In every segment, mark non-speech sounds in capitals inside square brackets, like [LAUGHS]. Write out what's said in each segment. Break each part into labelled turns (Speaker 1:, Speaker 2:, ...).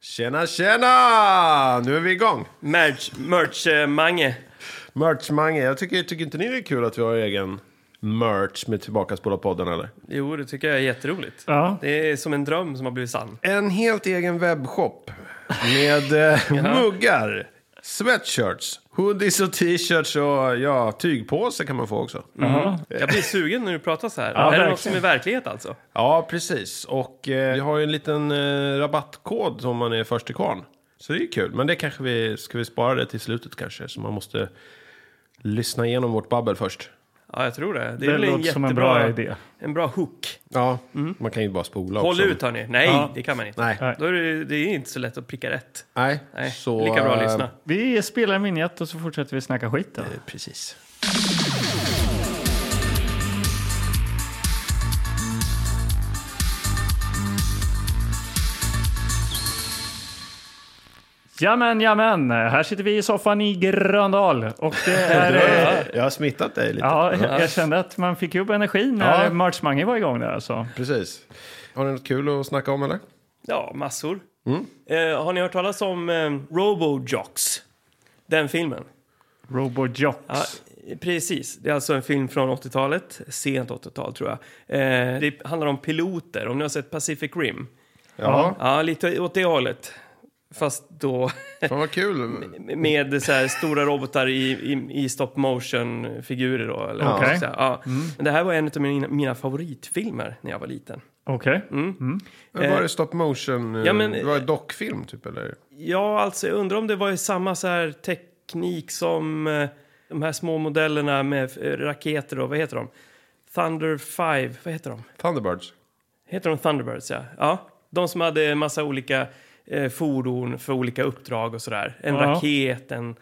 Speaker 1: Tjena, tjena! Nu är vi igång.
Speaker 2: Merch, merch eh, Mange.
Speaker 1: Merch-mange. Jag tycker, tycker inte ni det är kul att vi har egen merch med Tillbakaspola-podden, eller?
Speaker 2: Jo, det tycker jag är jätteroligt.
Speaker 3: Ja.
Speaker 2: Det är som en dröm som har blivit sann.
Speaker 1: En helt egen webbshop [LAUGHS] med eh, muggar, sweatshirts, hoodies och t-shirts och ja, tygpåse kan man få också.
Speaker 2: Jag blir sugen när du pratar så här. är det något som är
Speaker 3: verkligen.
Speaker 2: verklighet alltså?
Speaker 1: Ja, precis. Och eh, vi har ju en liten eh, rabattkod om man är först till kvarn. Så det är ju kul. Men det kanske vi ska vi spara det till slutet kanske. Så man måste lyssna igenom vårt babbel först.
Speaker 2: Ja, jag tror det. Det, är
Speaker 3: Det
Speaker 2: väl en
Speaker 3: låter
Speaker 2: jättebra,
Speaker 3: som en bra idé.
Speaker 2: En bra hook.
Speaker 1: Ja, man kan ju bara spola
Speaker 2: Håll
Speaker 1: också.
Speaker 2: ut hörni. Nej,
Speaker 3: Ja.
Speaker 2: det kan man inte.
Speaker 1: Mm. Nej,
Speaker 3: Nej.
Speaker 2: Då är det, det är inte så lätt att pricka rätt.
Speaker 1: nej.
Speaker 2: Nej,
Speaker 1: Så,
Speaker 2: lika bra
Speaker 1: eh,
Speaker 2: att lyssna.
Speaker 3: Vi spelar en vignett och så fortsätter vi snacka skit då.
Speaker 1: Precis.
Speaker 3: Jamen, jamen, här sitter vi i soffan i Gröndal. Och det
Speaker 2: [LAUGHS]
Speaker 3: är, eh,
Speaker 1: Jag har smittat dig lite.
Speaker 3: ja, jag kände att man fick upp energin när
Speaker 1: Ja.
Speaker 3: March Mange var igång där alltså.
Speaker 1: Precis. Har ni något kul att snacka om eller?
Speaker 2: Ja, massor.
Speaker 1: Mm.
Speaker 2: Eh, har ni hört talas om eh, Robojocks? Den filmen?
Speaker 3: Robojocks.
Speaker 2: Ja, precis. Det är alltså en film från 80-talet. Sent 80-tal tror jag. Eh, det handlar om piloter. Om ni har sett Pacific Rim?
Speaker 1: Ja.
Speaker 2: Ja, lite åt det hållet. Fast då [LAUGHS]
Speaker 1: Fan vad kul.
Speaker 2: med så här stora robotar i, i, i stop motion-figurer. Då, eller vad man ska
Speaker 3: Okej.
Speaker 2: säga. ja. Men det här var en av mina, mina favoritfilmer när jag var liten.
Speaker 3: Okej.
Speaker 2: Mm.
Speaker 1: Men Var det stop motion? eh,
Speaker 2: Ja, men-
Speaker 1: det var det dockfilm typ eller?
Speaker 2: Ja, alltså jag undrar om det var i samma så här teknik som eh, de här små modellerna med eh, raketer och vad heter de? Thunder 5, vad heter de?
Speaker 1: Thunderbirds?
Speaker 2: Heter de Thunderbirds, ja. ja. De som hade en massa olika eh, fordon för olika uppdrag och sådär. En
Speaker 3: Ja.
Speaker 2: raket, en...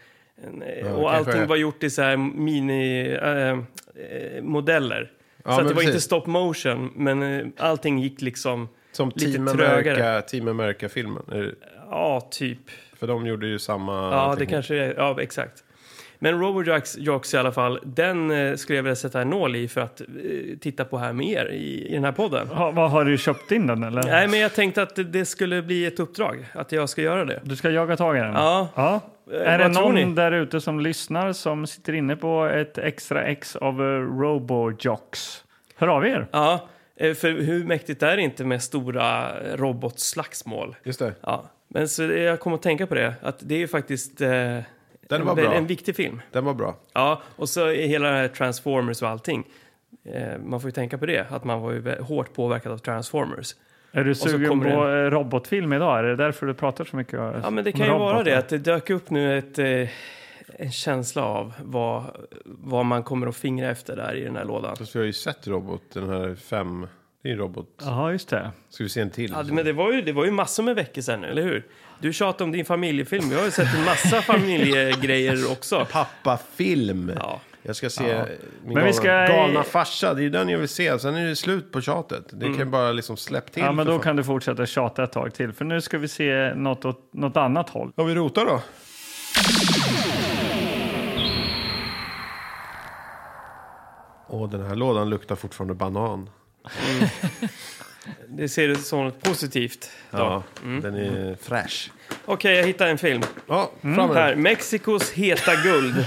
Speaker 2: en eh,
Speaker 1: det
Speaker 2: och
Speaker 1: kanske
Speaker 2: allting
Speaker 1: är-
Speaker 2: var gjort i så här mini-modeller. Eh, eh, modeller.
Speaker 1: Ja,
Speaker 2: så att
Speaker 1: men
Speaker 2: det var inte
Speaker 1: precis.
Speaker 2: stop motion, men eh, allting gick liksom...
Speaker 1: Som
Speaker 2: Lite
Speaker 1: Team
Speaker 2: trögare.
Speaker 1: America, Team America-filmen. Är det-
Speaker 2: Ja, typ.
Speaker 1: För de gjorde ju samma...
Speaker 2: Ja, det
Speaker 1: teknik.
Speaker 2: kanske är. Ja, exakt. Men Robojocks Jocks i alla fall, den eh, skulle jag vilja sätta en nål i för att eh, titta på här med er i, i den här podden.
Speaker 3: Ha, vad har du köpt in den eller?
Speaker 2: Nej, men jag tänkte att det- det skulle bli ett uppdrag, att jag ska göra
Speaker 1: Mm.
Speaker 2: det.
Speaker 3: Du ska jaga tag i den?
Speaker 2: Ja.
Speaker 3: Är det
Speaker 2: Eh, vad tror ni?
Speaker 3: någon där ute som lyssnar som sitter inne på ett extra ex av eh, Robojocks? Hör av er.
Speaker 2: Ja, eh, för hur mäktigt är det inte med stora robotslagsmål?
Speaker 1: Just det.
Speaker 2: Ja, men så det- jag kommer att tänka på det, att det är ju faktiskt eh,
Speaker 1: Den
Speaker 2: en-
Speaker 1: var
Speaker 2: väl-
Speaker 1: bra.
Speaker 2: en viktig film.
Speaker 1: Den var bra.
Speaker 2: Ja, och så är hela det här Transformers och allting. Eh, man får ju tänka på det, att man var ju vä- hårt påverkad av Transformers.
Speaker 3: Är du
Speaker 2: så
Speaker 3: sugen
Speaker 2: kommer
Speaker 3: på eh, robotfilm idag? Är det därför du pratar så mycket om
Speaker 2: Ja, men det kan ju
Speaker 3: robotar?
Speaker 2: vara det, att det dök upp nu ett, eh, en känsla av vad, vad man kommer att fingra efter där i den här lådan.
Speaker 1: Fast vi har ju sett robot, den här fem... Det är en robot.
Speaker 3: Jaha, just det.
Speaker 1: Ska vi se en till?
Speaker 2: Ja, men det var, ju, det var ju massor med veckor sedan, eller hur? Du tjatade om din familjefilm. Jag har ju sett en
Speaker 3: [LAUGHS]
Speaker 2: massa familjegrejer också.
Speaker 1: Pappafilm!
Speaker 2: Ja.
Speaker 1: Jag ska se min
Speaker 3: Men
Speaker 1: galna,
Speaker 3: vi ska-
Speaker 1: galna farsa. Det är ju den jag vill se. Sen är det slut på tjatet. Det kan ju bara liksom släpp till.
Speaker 3: Mm. Ja, men
Speaker 1: för
Speaker 3: då
Speaker 1: fan.
Speaker 3: kan du fortsätta tjata ett tag till, för nu ska vi se något åt något annat håll.
Speaker 1: Ja, vi rotar då. Åh, den här lådan luktar fortfarande banan.
Speaker 2: Det ser du som något positivt. då.
Speaker 1: Ja,
Speaker 3: Mm.
Speaker 1: den är fräsch.
Speaker 2: Okej, jag hittade en film.
Speaker 1: Ja,
Speaker 3: Mm.
Speaker 1: fram med
Speaker 2: Här,
Speaker 1: den.
Speaker 2: Mexikos heta
Speaker 3: [LAUGHS]
Speaker 2: guld.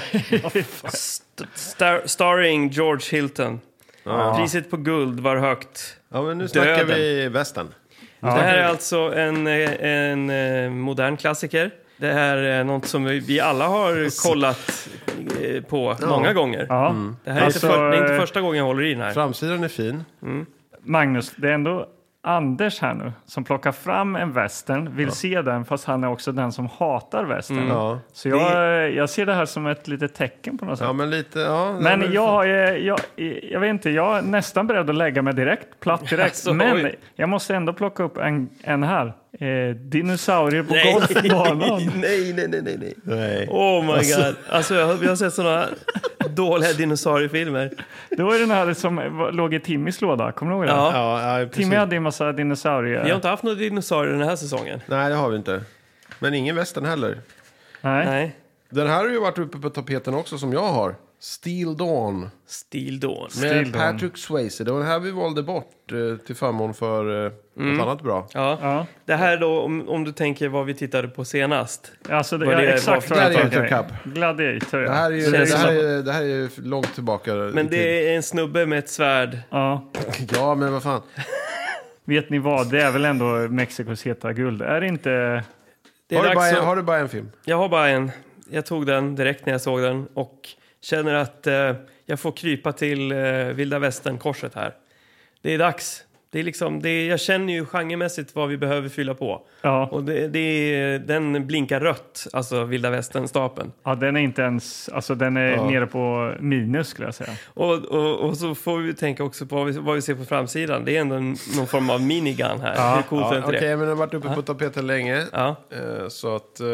Speaker 2: St- star- starring George Hilton. Priset på guld var högt.
Speaker 1: Ja, men nu
Speaker 2: Döden.
Speaker 1: snackar vi västern.
Speaker 2: Det här är alltså en, eh, en eh, modern klassiker. Det här är något som vi- vi alla har kollat eh, på många gånger.
Speaker 3: Alltså- Ja.
Speaker 2: Mm. Det här är inte,
Speaker 3: Alltså,
Speaker 2: för, det är inte
Speaker 3: eh,
Speaker 2: första gången jag håller i den här.
Speaker 1: Framsidan är
Speaker 3: Mm.
Speaker 1: fin.
Speaker 3: Magnus, det är ändå Anders här nu som plockar fram en västern, vill se den, fast han är också den som hatar västern.
Speaker 2: Mm.
Speaker 1: Ja.
Speaker 3: Så jag, jag ser det här som ett litet tecken på något sätt.
Speaker 1: ja, men lite... Ja,
Speaker 3: Men
Speaker 1: den-
Speaker 3: jag, har ju- jag, jag vet inte, jag är nästan beredd att lägga mig direkt, platt direkt.
Speaker 2: Alltså,
Speaker 3: men
Speaker 2: oj.
Speaker 3: jag måste ändå plocka upp en, en här. Eh, dinosaurier på
Speaker 2: [LAUGHS]
Speaker 3: golfbanan.
Speaker 2: nej, nej, nej, nej, nej.
Speaker 1: Nej.
Speaker 2: Oh my god. Alltså, jag, har- vi har sett såna dåliga dinosauriefilmer.
Speaker 3: Det var ju den här som var- låg i Timmys låda, kommer du ihåg den?
Speaker 2: Ja.
Speaker 1: Ja, ja, precis.
Speaker 3: Timmy hade ju en massa
Speaker 2: Vi har
Speaker 3: dinosaurier.
Speaker 2: inte haft några dinosaurier den här säsongen.
Speaker 1: Nej, det har vi inte. Men ingen västern heller.
Speaker 3: Nej.
Speaker 2: Nej.
Speaker 1: Den här har ju varit uppe på tapeten också, som jag har. Steel Dawn.
Speaker 2: Steel Dawn.
Speaker 1: Med
Speaker 3: Steel Dawn.
Speaker 1: Patrick Swayze. Det var den här vi valde bort eh, till förmån för eh,
Speaker 2: Mm.
Speaker 1: något annat bra.
Speaker 2: Ja.
Speaker 3: Ja,
Speaker 2: Det här då, om, om du tänker vad vi tittade på senast.
Speaker 3: alltså det,
Speaker 2: Vad
Speaker 3: ja,
Speaker 2: det är,
Speaker 3: exakt
Speaker 2: vad-
Speaker 3: vad jag
Speaker 1: Gladiator
Speaker 3: tänker.
Speaker 1: Cup.
Speaker 3: Gladiator,
Speaker 1: Det
Speaker 3: ja.
Speaker 1: här är ju,
Speaker 2: Känns
Speaker 1: det här
Speaker 2: som-
Speaker 1: är, det här är ju långt tillbaka
Speaker 2: Men
Speaker 1: i tiden.
Speaker 2: det är en snubbe med ett svärd.
Speaker 3: ja.
Speaker 1: [LAUGHS] Ja, men vad fan.
Speaker 3: Vet ni vad, det är väl ändå Mexikos heta guld. Är det inte...
Speaker 2: Det är
Speaker 1: Har du,
Speaker 2: dags
Speaker 1: bara
Speaker 2: att-
Speaker 1: en, har du bara en film?
Speaker 2: Jag har bara en. Jag tog den direkt när jag såg den och känner att eh, jag får krypa till eh, vilda västern-korset här. Det är dags. Det är liksom, det är, jag känner ju genremässigt vad vi behöver fylla på.
Speaker 3: Ja,
Speaker 2: Och det, det är, den blinkar rött, alltså vilda västern-stapeln.
Speaker 3: ja den är inte ens... Alltså den är
Speaker 1: Ja.
Speaker 3: nere på minus skulle jag säga.
Speaker 2: Och, och, och så får vi tänka också på vad vi, vad vi ser på framsidan. Det är ändå en- någon form av minigun här. Hur coolt är
Speaker 1: Ja,
Speaker 2: inte
Speaker 1: Okej,
Speaker 2: det?
Speaker 1: men den har varit uppe på tapeten länge.
Speaker 2: Ja.
Speaker 1: Eh, Så att... eh,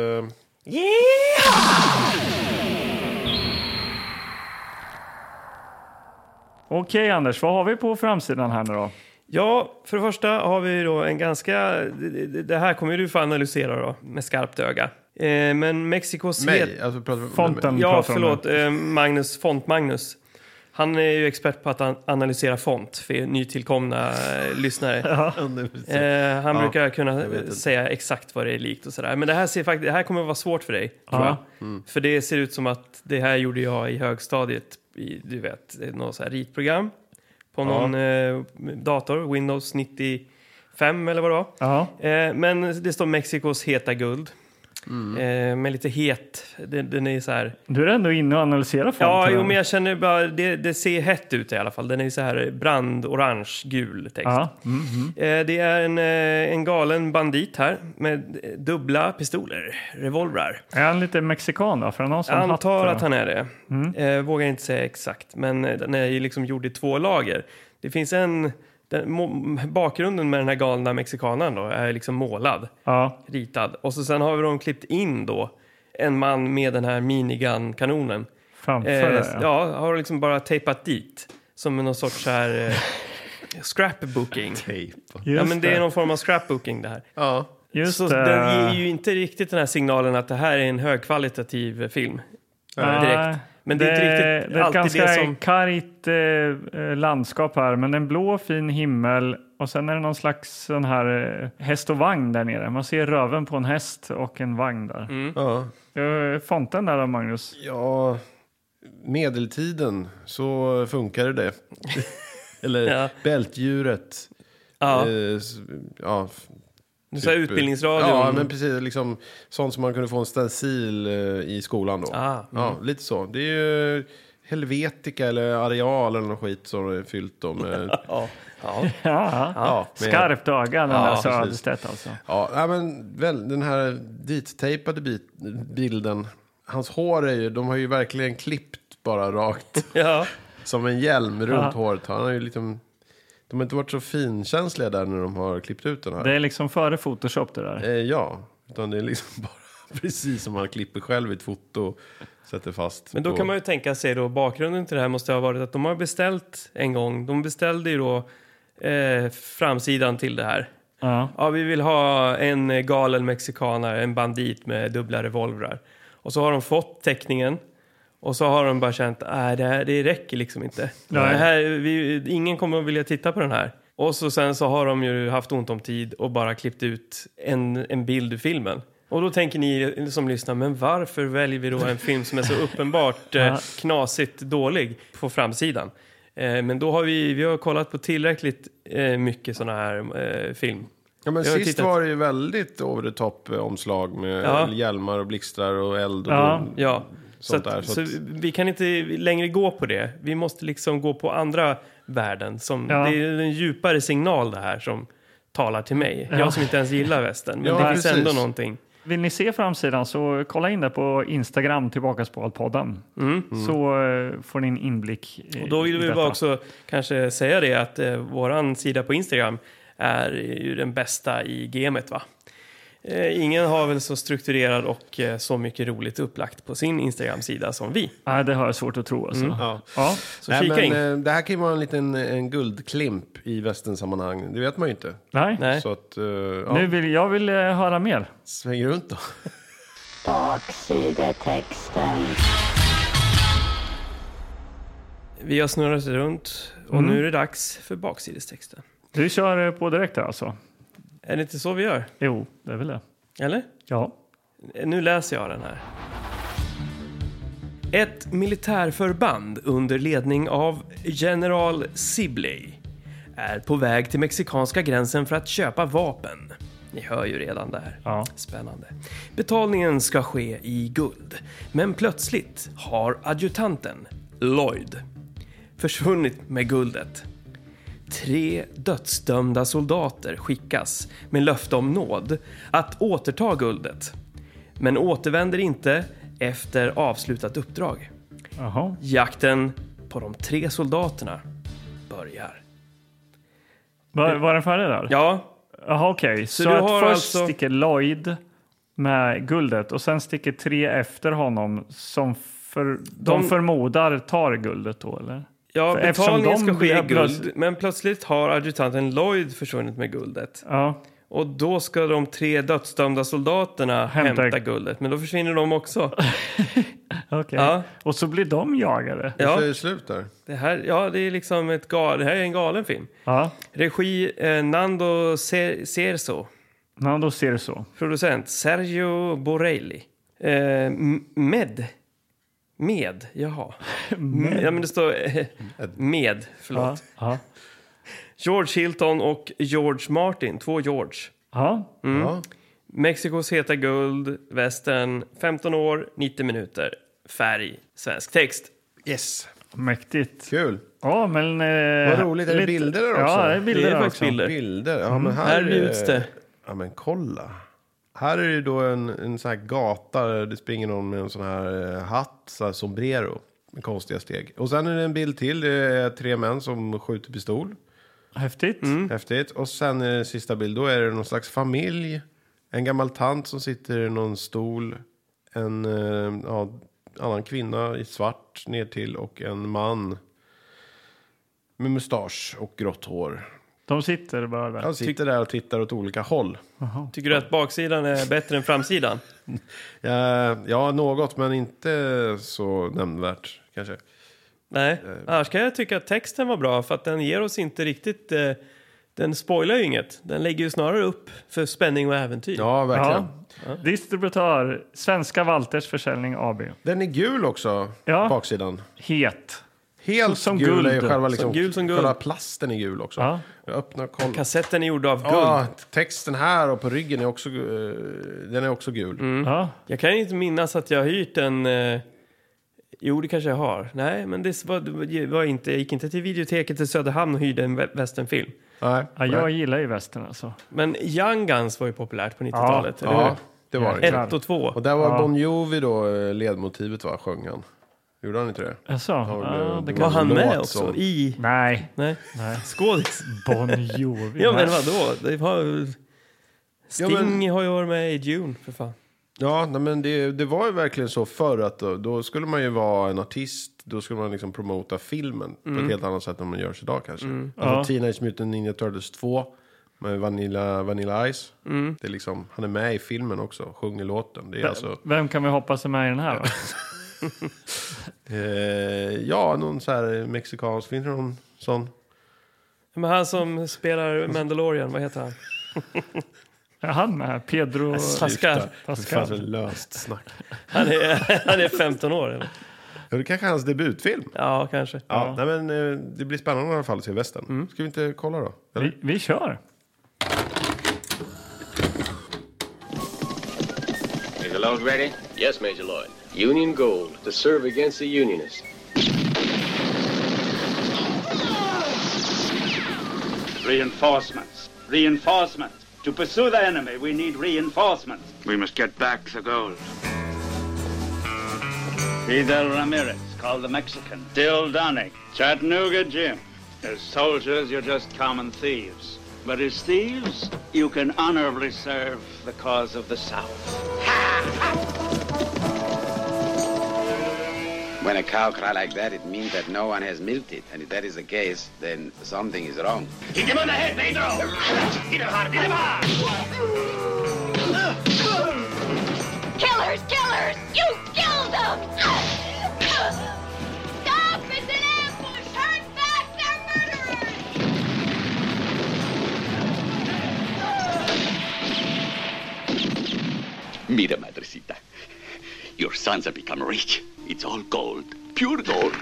Speaker 3: Okej Anders, vad har vi på framsidan här nu då?
Speaker 2: Ja, för det första har vi då en ganska... det- det- Det här kommer ju du få analysera då, med skarpt öga. Eh, men Mexikos... het-
Speaker 1: Mig? Alltså, pratar,
Speaker 3: Fonten
Speaker 2: Ja,
Speaker 3: pratar om
Speaker 2: förlåt.
Speaker 3: nu.
Speaker 2: Eh, Magnus, Font-Magnus. Han är ju expert på att an- analysera font för er nytillkomna eh,
Speaker 1: [LAUGHS]
Speaker 2: lyssnare. Eh, han
Speaker 1: Ja,
Speaker 2: brukar kunna
Speaker 1: vet inte.
Speaker 2: säga exakt vad det är likt och sådär. Men det här, ser faktiskt, det här kommer att vara svårt för dig, tror
Speaker 3: Ja.
Speaker 2: jag.
Speaker 1: Mm.
Speaker 2: För det ser ut som att det här gjorde jag i högstadiet i, du vet, något så här ritprogram på någon eh, dator, Windows 95 eller vad det var.
Speaker 3: Ja,
Speaker 2: Eh, men det står Mexikos heta guld.
Speaker 1: Mm.
Speaker 2: Eh, men lite het, den, den är så här...
Speaker 3: du är ändå inne och analyserar fonten.
Speaker 2: Ja, jo, men jag känner bara, det, det ser hett ut i alla fall. Den är så här brandorange, gul text.
Speaker 3: Ja, mm, mm.
Speaker 2: Eh, Det är en, eh, en galen bandit här med eh, dubbla pistoler, revolvrar.
Speaker 3: Är han lite mexikan då? För han har en sån
Speaker 2: Jag antar
Speaker 3: hatt, Mm.
Speaker 2: att han är det. Eh, Vågar inte säga exakt, men eh, den är ju liksom gjord i två lager. Det finns en... Den, må, bakgrunden med den här galna mexikanen då är liksom målad,
Speaker 3: Ja,
Speaker 2: ritad. Och så sen har vi de klippt in då en man med den här minigun-kanonen.
Speaker 3: framför
Speaker 2: Eh,
Speaker 3: det.
Speaker 2: ja.
Speaker 3: Ja.
Speaker 2: har liksom bara tejpat dit. Som någon sorts så här eh, scrapbooking. Ja,
Speaker 3: [LAUGHS] Just
Speaker 2: men det är någon form av scrapbooking det här.
Speaker 1: Ja.
Speaker 3: Just
Speaker 2: så
Speaker 3: det.
Speaker 2: den ger ju inte riktigt den här signalen att det här är en högkvalitativ eh, film.
Speaker 3: Nej,
Speaker 2: direkt. Men det är inte riktigt
Speaker 3: det är ett
Speaker 2: alltid
Speaker 3: ganska
Speaker 2: det som-
Speaker 3: kargt eh, eh, landskap här, men en blå fin himmel och sen är det någon slags sån här eh, häst och vagn där nere. Man ser röven på en häst och en vagn där.
Speaker 2: Mm.
Speaker 1: ja.
Speaker 3: Eh, fonten där då, Magnus?
Speaker 1: Ja, medeltiden så funkade det. [LAUGHS] Eller
Speaker 2: Ja.
Speaker 1: bältdjuret.
Speaker 2: Ja,
Speaker 1: Eh, s- ja, f-
Speaker 2: nu sa jag
Speaker 1: typ-
Speaker 2: utbildningsradion.
Speaker 1: Ja, men precis. Liksom, sånt som man kunde få en stencil eh, i skolan då.
Speaker 2: Ah,
Speaker 1: Ja, lite så. Det är ju Helvetica eller Areal eller något skit som är fyllt om. eh,
Speaker 2: [LAUGHS] ja, ja.
Speaker 3: Ja,
Speaker 1: ja, med-
Speaker 3: skarpt öga den
Speaker 1: Ja,
Speaker 3: där
Speaker 1: precis.
Speaker 3: Söderstedt alltså.
Speaker 1: Ja, nej, men väl, den här dittejpade bit, bilden. Hans hår är ju, de har ju verkligen klippt bara rakt.
Speaker 2: ja.
Speaker 1: Som en hjälm runt
Speaker 3: Ja.
Speaker 1: håret. Han har ju liksom, de har inte varit så finkänsliga där när de har klippt ut den här.
Speaker 3: Det är liksom före Photoshop det där.
Speaker 1: Eh, ja, utan det är liksom [LAUGHS] bara precis som man klipper själv i ett foto. och Sätter fast.
Speaker 2: Men då
Speaker 1: på-
Speaker 2: kan man ju tänka sig då bakgrunden till det här måste ha varit att de har beställt en gång. De beställde ju då eh, framsidan till det här.
Speaker 3: Ja.
Speaker 2: Ja, vi vill ha en galen mexikanare, en bandit med dubbla revolvrar. Och så har de fått teckningen och så har de bara känt att det, här- det räcker liksom inte. Det här, vi, ingen kommer att vilja titta på den här. Och så sen så har de ju haft ont om tid och bara klippt ut en, en bild ur filmen. Och då tänker ni som lyssnar, men varför väljer vi då en film som är så uppenbart eh, knasigt dålig på framsidan? Eh, men då har vi, vi har kollat på tillräckligt eh, mycket sådana här eh, film.
Speaker 1: ja, men
Speaker 2: jag har
Speaker 1: sist
Speaker 2: tittat-
Speaker 1: var det ju väldigt over the top eh, omslag med
Speaker 2: Ja.
Speaker 1: hjälmar och blixtar och eld och
Speaker 3: Ja.
Speaker 2: Ja, så,
Speaker 1: sånt
Speaker 2: att,
Speaker 1: där.
Speaker 2: så
Speaker 1: Så att,
Speaker 2: vi kan inte längre gå på det. Vi måste liksom gå på andra värden. Som,
Speaker 3: Ja.
Speaker 2: Det är en djupare signal det här som talar till mig. Jag som inte ens gillar västern. Men
Speaker 1: Ja,
Speaker 2: det finns
Speaker 1: precis.
Speaker 2: ändå någonting.
Speaker 3: Vill ni se framsidan så kolla in det på Instagram, tillbaka på podden.
Speaker 1: Mm.
Speaker 3: Så eh, får ni en inblick i-
Speaker 2: Mm. Och då
Speaker 3: i
Speaker 2: vill vi
Speaker 3: detta.
Speaker 2: bara också kanske säga det att eh, våran sida på Instagram är ju den bästa i gamet va? Eh, ingen har väl så strukturerad och eh, så mycket roligt upplagt på sin Instagram-sida som vi.
Speaker 3: Nej, det har jag svårt att tro alltså.
Speaker 2: Mm.
Speaker 1: ja.
Speaker 3: Ja.
Speaker 2: Så
Speaker 1: Nej,
Speaker 2: kika
Speaker 1: men,
Speaker 2: in.
Speaker 1: eh, det här kan ju vara en liten eh, en guldklimp i västernsammanhang. Det vet man ju inte.
Speaker 3: Nej.
Speaker 2: Nej.
Speaker 1: Så att, eh, ja,
Speaker 3: Nu vill, jag vill eh, höra mer.
Speaker 1: sväng runt då.
Speaker 4: Baksidetexten.
Speaker 2: Vi har snurrat runt och
Speaker 3: Mm.
Speaker 2: nu är det dags för baksidestexten.
Speaker 3: Du kör eh, på direkt här alltså?
Speaker 2: Är det inte så vi gör?
Speaker 3: Jo, det är väl det.
Speaker 2: Eller?
Speaker 3: Ja.
Speaker 2: Nu läser jag den här. Ett militärförband under ledning av general Sibley är på väg till mexikanska gränsen för att köpa vapen. Ni hör ju redan där.
Speaker 3: Ja.
Speaker 2: Spännande. Betalningen ska ske i guld. Men plötsligt har adjutanten Lloyd försvunnit med guldet. Tre dödsdömda soldater skickas med löfte om nåd att återta guldet. Men återvänder inte efter avslutat uppdrag.
Speaker 3: Jaha.
Speaker 2: Jakten på de tre soldaterna börjar.
Speaker 3: Var, var den färdig där?
Speaker 2: Ja,
Speaker 3: Jaha, okej. Så,
Speaker 2: du
Speaker 3: att
Speaker 2: har
Speaker 3: först
Speaker 2: alltså-
Speaker 3: sticker Lloyd med guldet och sen sticker tre efter honom som för, de...
Speaker 2: De-
Speaker 3: förmodar tar guldet då, eller?
Speaker 2: ja
Speaker 3: För eftersom
Speaker 2: betalningen
Speaker 3: de
Speaker 2: ska ske i
Speaker 3: blir plöts-
Speaker 2: guld, men plötsligt har adjutanten Lloyd försvunnit med guldet.
Speaker 3: Ja.
Speaker 2: Och då ska de tre dödsdömda soldaterna hämta,
Speaker 3: Hämta-
Speaker 2: guldet, men då försvinner de också.
Speaker 3: Okej.
Speaker 2: Ja,
Speaker 3: Och så blir de jagade.
Speaker 1: Så är [LAUGHS]
Speaker 2: ja,
Speaker 1: det slut där.
Speaker 2: det här, ja, det är liksom ett gal, det här är en galen film.
Speaker 3: Ja.
Speaker 2: Regi eh, Nando Cer- Cerso.
Speaker 3: Men då ser det så.
Speaker 2: Producent Sergio Borelli. Eh, m- med. Med, jaha. Med. Ja, men det står eh, med,
Speaker 3: Ja.
Speaker 2: förlåt.
Speaker 3: Ja.
Speaker 2: George Hilton och George Martin, två George.
Speaker 3: ja.
Speaker 2: Mm.
Speaker 1: Ja.
Speaker 2: Mexikos heta guld, västern, 15 år, 90 minuter. Färg, svensk text.
Speaker 1: Yes.
Speaker 3: Mäktigt.
Speaker 1: Kul.
Speaker 3: Ja, men... Eh,
Speaker 1: Vad roligt. Är det bilder där också?
Speaker 3: Ja, det är bilder
Speaker 2: Det är
Speaker 3: där
Speaker 2: faktiskt
Speaker 3: också.
Speaker 2: bilder. Mm.
Speaker 1: Bilder. Ja, men här,
Speaker 2: Här bjuds
Speaker 1: eh,
Speaker 2: det.
Speaker 1: Ja, men kolla. Här är det då en, en sån här gata. där Det springer någon med en sån här eh, hatt, så här sombrero. Med konstiga steg. Och sen är det en bild till. Det är tre män som skjuter pistol.
Speaker 2: Mm.
Speaker 3: Häftigt.
Speaker 1: Häftigt. Och sen eh, sista bild, då är det någon slags familj. En gammal tant som sitter i någon stol. En eh, ja, annan kvinna i svart ner till och en man med mustasch och grått hår.
Speaker 3: De sitter bara där.
Speaker 1: Han sitter där och tittar åt olika håll.
Speaker 2: Tycker du att baksidan är bättre än framsidan?
Speaker 1: Ja, Eh, ja något, men inte så nämnvärt kanske.
Speaker 2: Nej,
Speaker 1: Eh.
Speaker 2: annars kan jag tycka att texten var bra för att den ger oss inte riktigt... Eh, den spoilar ju inget. Den lägger ju snarare upp för spänning och äventyr.
Speaker 1: Ja, verkligen.
Speaker 3: Ja. Distributör, Svenska Walters Försäljning AB.
Speaker 1: Den är gul också,
Speaker 3: Ja.
Speaker 1: baksidan.
Speaker 3: Het.
Speaker 1: Helt
Speaker 3: Som
Speaker 1: gul är ju
Speaker 3: guld.
Speaker 1: själva, liksom,
Speaker 2: Som gul som guld.
Speaker 1: själva plasten är gul också.
Speaker 3: Ja.
Speaker 1: Jag öppnar och kollar.
Speaker 2: Kassetten är gjord av guld.
Speaker 1: Ja, texten här och på ryggen är också, eh, den är också gul.
Speaker 2: Mm.
Speaker 3: Ja.
Speaker 2: Jag kan inte minnas att jag har hyrt en... Eh, jo, det kanske jag har. Nej, men det var, det var inte, jag gick inte till videoteket i Söderhamn och hyrde en vä- westernfilm.
Speaker 1: Nej.
Speaker 3: ja, jag gillar ju västern alltså.
Speaker 2: Men Young Guns var ju populärt på 90-talet. eller
Speaker 1: ja, det var
Speaker 2: hur?
Speaker 1: det.
Speaker 3: Ja.
Speaker 2: Ett och två.
Speaker 1: Och där var
Speaker 3: Ja.
Speaker 1: Bon Jovi då eh, ledmotivet va, sjöng han. Gjorde han inte det?
Speaker 3: Alltså, ja, det
Speaker 1: det
Speaker 3: kan...
Speaker 2: Var han med
Speaker 1: låt
Speaker 2: också
Speaker 1: som-
Speaker 2: i...
Speaker 3: Nej,
Speaker 2: Nej,
Speaker 3: Nej.
Speaker 2: skådis.
Speaker 3: Bon
Speaker 2: [LAUGHS]
Speaker 3: Jovi.
Speaker 2: Ja, men
Speaker 3: Nej.
Speaker 2: vadå? Det var... Sting
Speaker 1: Ja, men-
Speaker 2: har ju varit med i Dune, för fan.
Speaker 1: Ja, nej, men det, det var ju verkligen så förr att då, då skulle man ju vara en artist. Då skulle man liksom promota filmen på ett helt annat sätt än man gör idag kanske. Alltså Teenage Mutant Ninja Turtles 2 med Vanilla, Vanilla Ice. Det är liksom, han är med i filmen också, sjunger låten. Det är alltså...
Speaker 3: Vem kan vi hoppas är med i
Speaker 2: [LAUGHS]
Speaker 3: den här? va?
Speaker 1: Eh, ja, någon så här mexikansk. Finns det någon sån?
Speaker 2: Men han som spelar Mandalorian, vad heter han?
Speaker 3: Är han med? Pedro...
Speaker 2: Pascal.
Speaker 3: Pascal.
Speaker 1: Fan, så löst snack.
Speaker 2: Han är, [LAUGHS] han är 15 år. Eller?
Speaker 1: Ja, det kanske är hans debutfilm.
Speaker 2: Ja, kanske.
Speaker 1: Ja, Nej, men, eh, det blir spännande i alla fall att se västern. Ska vi inte kolla då? Eller?
Speaker 3: Vi, vi kör.
Speaker 4: Major Lloyd ready? Yes, Major Lloyd. Union Gold to serve against the Unionists.
Speaker 5: Reinforcements. Reinforcements. To pursue the enemy, we need reinforcements.
Speaker 6: We must get back the gold.
Speaker 5: Fidel Ramirez, called the Mexican. Dill Donning. Chattanooga Jim. As soldiers, you're just common thieves. But as thieves, you can honorably serve the cause of the South.
Speaker 6: When a cow cry like that, it means that no one has milked it. And if that is the case, then something is wrong.
Speaker 5: Hit him on the head, Pedro! Hit him hard, hit him hard!
Speaker 7: Killers! Killers! You killed them! Stop! It's an ambush!
Speaker 8: Mira, madrecita. Your sons have become rich. It's all gold, pure gold.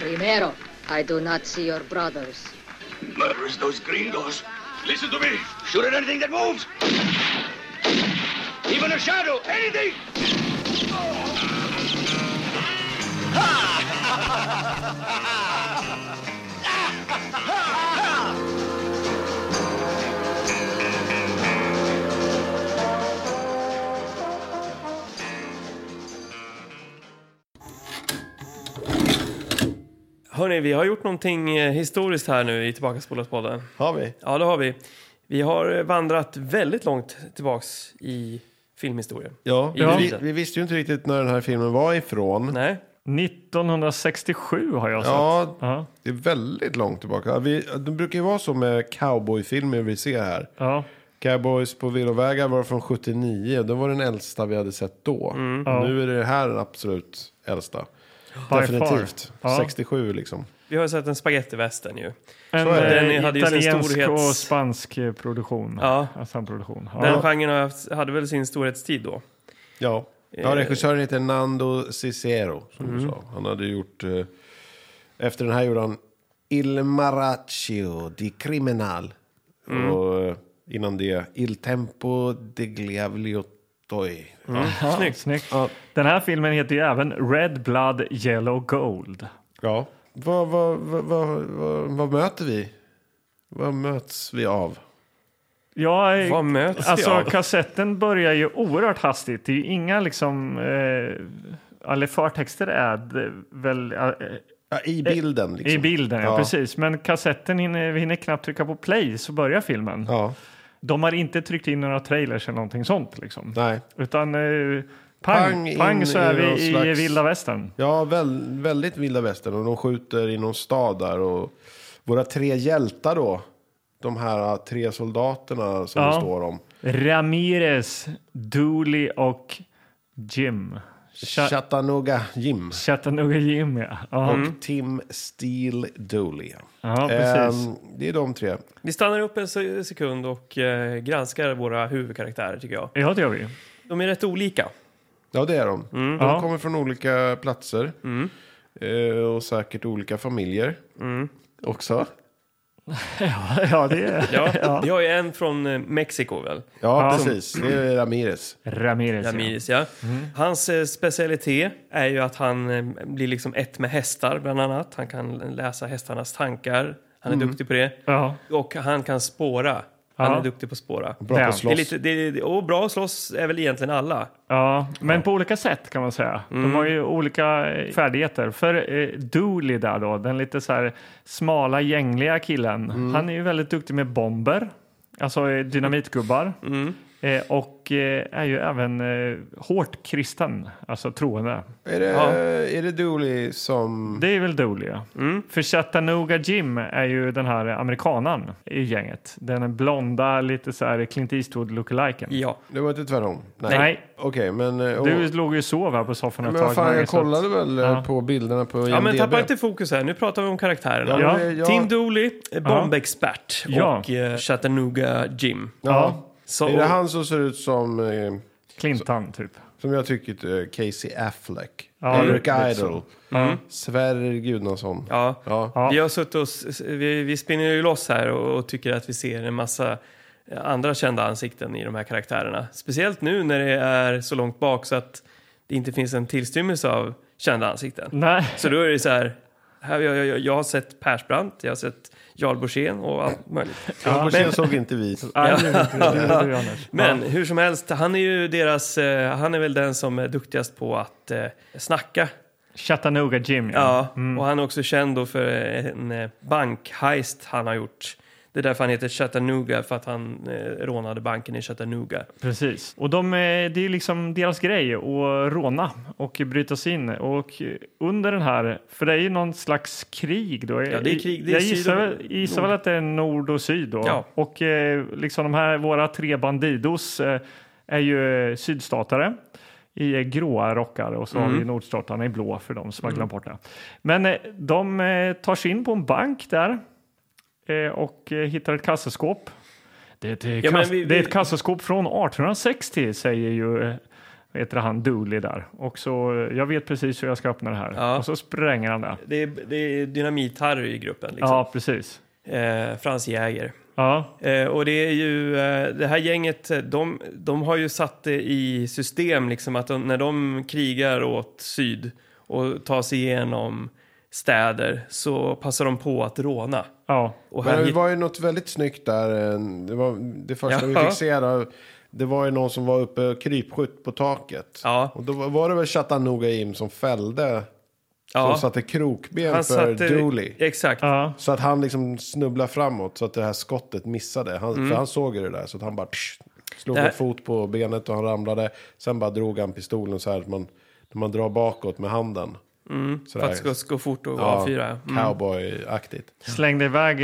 Speaker 9: Primero, I do not see your brothers.
Speaker 8: Murderous those gringos. Listen to me. Shoot at anything that moves. Even a shadow. Anything.
Speaker 2: Hörni, vi har gjort någonting eh, historiskt här nu i Tillbakaspolat-podden.
Speaker 1: Har vi?
Speaker 2: Ja, det har vi. Vi har eh, vandrat väldigt långt tillbaks i filmhistorien.
Speaker 1: Ja,
Speaker 2: Ja.
Speaker 1: Vi, vi visste ju inte riktigt när den här filmen var ifrån.
Speaker 2: Nej,
Speaker 3: 1967 har jag sett.
Speaker 1: Ja,
Speaker 3: Ja.
Speaker 1: det är väldigt långt tillbaka. Vi, det brukar ju vara så med cowboyfilmer vi ser här.
Speaker 3: Ja.
Speaker 1: Cowboys på villovägar var från 79. Det var den äldsta vi hade sett då.
Speaker 3: Ja.
Speaker 1: Nu är det här den absolut äldsta.
Speaker 3: By
Speaker 1: Definitivt.
Speaker 3: far. Ja.
Speaker 1: 67 liksom.
Speaker 2: vi har ju sett en spagettivästern ju.
Speaker 3: En
Speaker 1: är det.
Speaker 3: eh,
Speaker 2: Den hade ju sin
Speaker 3: italiensk
Speaker 2: storhets-
Speaker 3: och spansk eh, produktion.
Speaker 2: Ja.
Speaker 3: Samproduktion. Ja.
Speaker 2: Den genren har haft- hade väl sin storhetstid då.
Speaker 1: Ja.
Speaker 3: Eh,
Speaker 1: ja, regissören heter Nando Cicero. Som
Speaker 3: Mhm.
Speaker 1: du sa. Han hade gjort... Eh, efter den här gjorde han Il Maraccio di Criminal.
Speaker 3: Mm.
Speaker 1: Och eh, innan det Il Tempo de Gliaviotoi.
Speaker 3: Ja, snyggt.
Speaker 1: Ja.
Speaker 3: Den här filmen heter ju även Red Blood Yellow Gold.
Speaker 1: Ja. Vad, vad, vad, vad, vad, vad möter vi? Vad möts vi av?
Speaker 3: Ja, eh,
Speaker 2: Vad möts vi
Speaker 3: alltså
Speaker 2: av?
Speaker 3: kassetten börjar ju oerhört hastigt. Det är ju inga liksom... Eh, eller förtexter är det väl... eh,
Speaker 1: Ja, I bilden liksom.
Speaker 3: I bilden, ja.
Speaker 1: Ja.
Speaker 3: precis. Men kassetten hinner, vi hinner knappt trycka på play så börjar filmen.
Speaker 1: Ja,
Speaker 3: De har inte tryckt in några trailers eller någonting sånt. Liksom.
Speaker 1: nej.
Speaker 3: Utan eh, pang,
Speaker 1: Pang in
Speaker 3: pang, så
Speaker 1: i
Speaker 3: är vi
Speaker 1: någon
Speaker 3: i
Speaker 1: slags-
Speaker 3: vilda västern.
Speaker 1: Ja, väl, väldigt vilda västern. Och de skjuter i någon stad där. Och våra tre hjältar då. De här äh, tre soldaterna som
Speaker 3: Ja.
Speaker 1: det står om.
Speaker 3: Ramirez, Dooley och Jim. Cha-
Speaker 1: Chattanooga Jim.
Speaker 3: Chattanooga Jim, ja. Ja,
Speaker 1: Och Tim Steele Dooley.
Speaker 3: Mm. ja precis.
Speaker 1: Ehm, det är de tre.
Speaker 2: Vi stannar upp en se- sekund och eh, granskar våra huvudkaraktärer tycker jag.
Speaker 3: Ja, det gör vi. [LAUGHS]
Speaker 2: De är rätt olika.
Speaker 1: Ja, det är de. De
Speaker 3: Mm. Ja. Mm.
Speaker 1: kommer från olika platser. Eh, och säkert olika familjer. Också.
Speaker 3: [LAUGHS] Ja, det är
Speaker 2: [LAUGHS] Ja, Vi har ju en från eh, Mexiko väl?
Speaker 1: Ja,
Speaker 3: Ja.
Speaker 1: precis. Det är Ramirez.
Speaker 3: Ramirez. Ja.
Speaker 2: Ramirez, ja. Hans eh, specialitet är ju att han eh, blir liksom ett med hästar bland annat. Han kan läsa hästarnas tankar. Han är duktig på det.
Speaker 3: Ja.
Speaker 2: Och han kan spåra. Han
Speaker 3: Ja.
Speaker 2: är duktig på att spåra.
Speaker 1: Bra på
Speaker 3: Ja.
Speaker 1: att
Speaker 2: Det är
Speaker 1: slåss.
Speaker 2: lite, det är, och bra att slåss är väl egentligen alla.
Speaker 3: Ja, men på olika sätt kan man säga. De har ju olika eh, färdigheter. För eh, Dooley där då, den lite så här smala gängliga killen. Han är ju väldigt duktig med bomber, alltså eh, dynamitgubbar. Eh, och eh, är ju även eh, hårt kristen, alltså troende.
Speaker 1: Är det, är det Dooley som...
Speaker 3: Det är väl Dooley, ja.
Speaker 2: Mm.
Speaker 3: För Chattanooga Jim är ju den här amerikanan i gänget. Den blonda, lite så här Clint Eastwood-lookalikeen.
Speaker 2: Ja.
Speaker 1: Det var inte tvärtom?
Speaker 3: Nej.
Speaker 1: Okej, men... eh,
Speaker 3: Du
Speaker 1: och-
Speaker 3: låg ju och sov här på soffan ett
Speaker 1: Men vad fan,
Speaker 3: Mange,
Speaker 1: jag
Speaker 3: så att-
Speaker 1: kollade väl eh,
Speaker 3: Ja.
Speaker 1: på bilderna på IMDB.
Speaker 2: Ja, men tappa inte fokus här. Nu pratar vi om karaktärerna.
Speaker 1: Ja,
Speaker 3: Ja.
Speaker 1: men, eh, jag-
Speaker 2: Tim Dooley, eh, bombexpert
Speaker 3: Ja.
Speaker 2: och eh, Chattanooga Jim.
Speaker 1: Ja.
Speaker 2: Så,
Speaker 1: Är det han som ser ut som, eh,
Speaker 3: Clintan, typ.
Speaker 1: som jag tycker, eh, Casey Affleck?
Speaker 3: Ja, Mm.
Speaker 1: Eric
Speaker 3: lite så.
Speaker 1: Idle? Sverrir Gudnason?
Speaker 2: Ja.
Speaker 1: Ja.
Speaker 2: Vi har suttit och, s- s- vi, vi spinner ju loss här och, och tycker att vi ser en massa eh, andra kända ansikten i de här karaktärerna. Speciellt nu när det är så långt bak så att det inte finns en tillstymmelse av kända ansikten.
Speaker 3: Nej.
Speaker 2: Så då är det så här, här jag, jag, jag har sett Persbrandt, jag har sett Jarl Borssén och allt möjligt.
Speaker 1: Ja, men... såg inte vi.
Speaker 3: Nej, det är inte det.
Speaker 2: [LAUGHS]
Speaker 3: Det är du, Anders.
Speaker 2: Men hur som helst, han är ju deras, eh, han är väl den som är duktigast på att eh, snacka.
Speaker 3: Chattanooga Jim, ja.
Speaker 2: Ja, och han är också känd då för en eh, bankheist han har gjort. Det är därför han heter Chattanooga, för att han eh, rånade banken i Chattanooga.
Speaker 3: Precis. Och de, eh, det är liksom deras grej att råna och bryta sig in. Och eh, under den här, för det är ju någon slags krig då.
Speaker 2: Ja, det är krig. Det är
Speaker 3: jag
Speaker 2: syd
Speaker 3: gissar,
Speaker 2: och-
Speaker 3: väl- gissar väl att det är nord och syd då.
Speaker 2: Ja.
Speaker 3: Och eh, liksom de här, våra tre bandidos eh, är ju eh, sydstatare i eh, gråa rockar och så
Speaker 2: Mm.
Speaker 3: har vi nordstatarna i blå för de som har glömt bort det. Men eh, de eh, tar sig in på en bank där eh, och eh, hittar ett kassaskåp. Det är ett, eh,
Speaker 2: Ja, men
Speaker 3: kass-
Speaker 2: vi-
Speaker 3: det är
Speaker 2: vi-
Speaker 3: ett kassaskåp från 1860 säger ju eh, vad heter han Dooley där. Och så, eh, jag vet precis hur jag ska öppna det här.
Speaker 2: Ja.
Speaker 3: Och så spränger han det.
Speaker 2: Det är, det är dynamit-Harry i gruppen, liksom.
Speaker 3: Ja, precis.
Speaker 2: Eh, Frans Jäger.
Speaker 3: Ja,
Speaker 2: Eh, och det är ju, eh, det här gänget, eh, de, de har ju satt det i system liksom att de, när de krigar åt syd och tar sig igenom städer så passar de på att råna.
Speaker 3: ja.
Speaker 2: Och här
Speaker 1: Men det
Speaker 2: hit-
Speaker 1: var ju något väldigt snyggt där. eh, Det, var, det första vi
Speaker 2: Ja.
Speaker 1: fick se där, det var ju någon som var uppe och krypskytt på taket.
Speaker 2: Ja.
Speaker 1: Och då var- var det väl Chattanooga Jim som fällde,
Speaker 2: ja,
Speaker 1: som satte krokben
Speaker 2: han
Speaker 1: för
Speaker 2: satte-
Speaker 1: Dooley.
Speaker 2: Exakt.
Speaker 3: ja.
Speaker 1: Så att han liksom snubblade framåt så att det här skottet missade. Han,
Speaker 2: Mm.
Speaker 1: För han såg ju det där så att han bara psh, slog
Speaker 2: Det här-
Speaker 1: en fot på benet och han ramlade. Sen bara drog han pistolen så här att man, när man drar bakåt med handen. Mm,
Speaker 2: För att det ska ska gå fort och avfyra. Mm.
Speaker 1: Cowboy-aktigt.
Speaker 3: Slängde iväg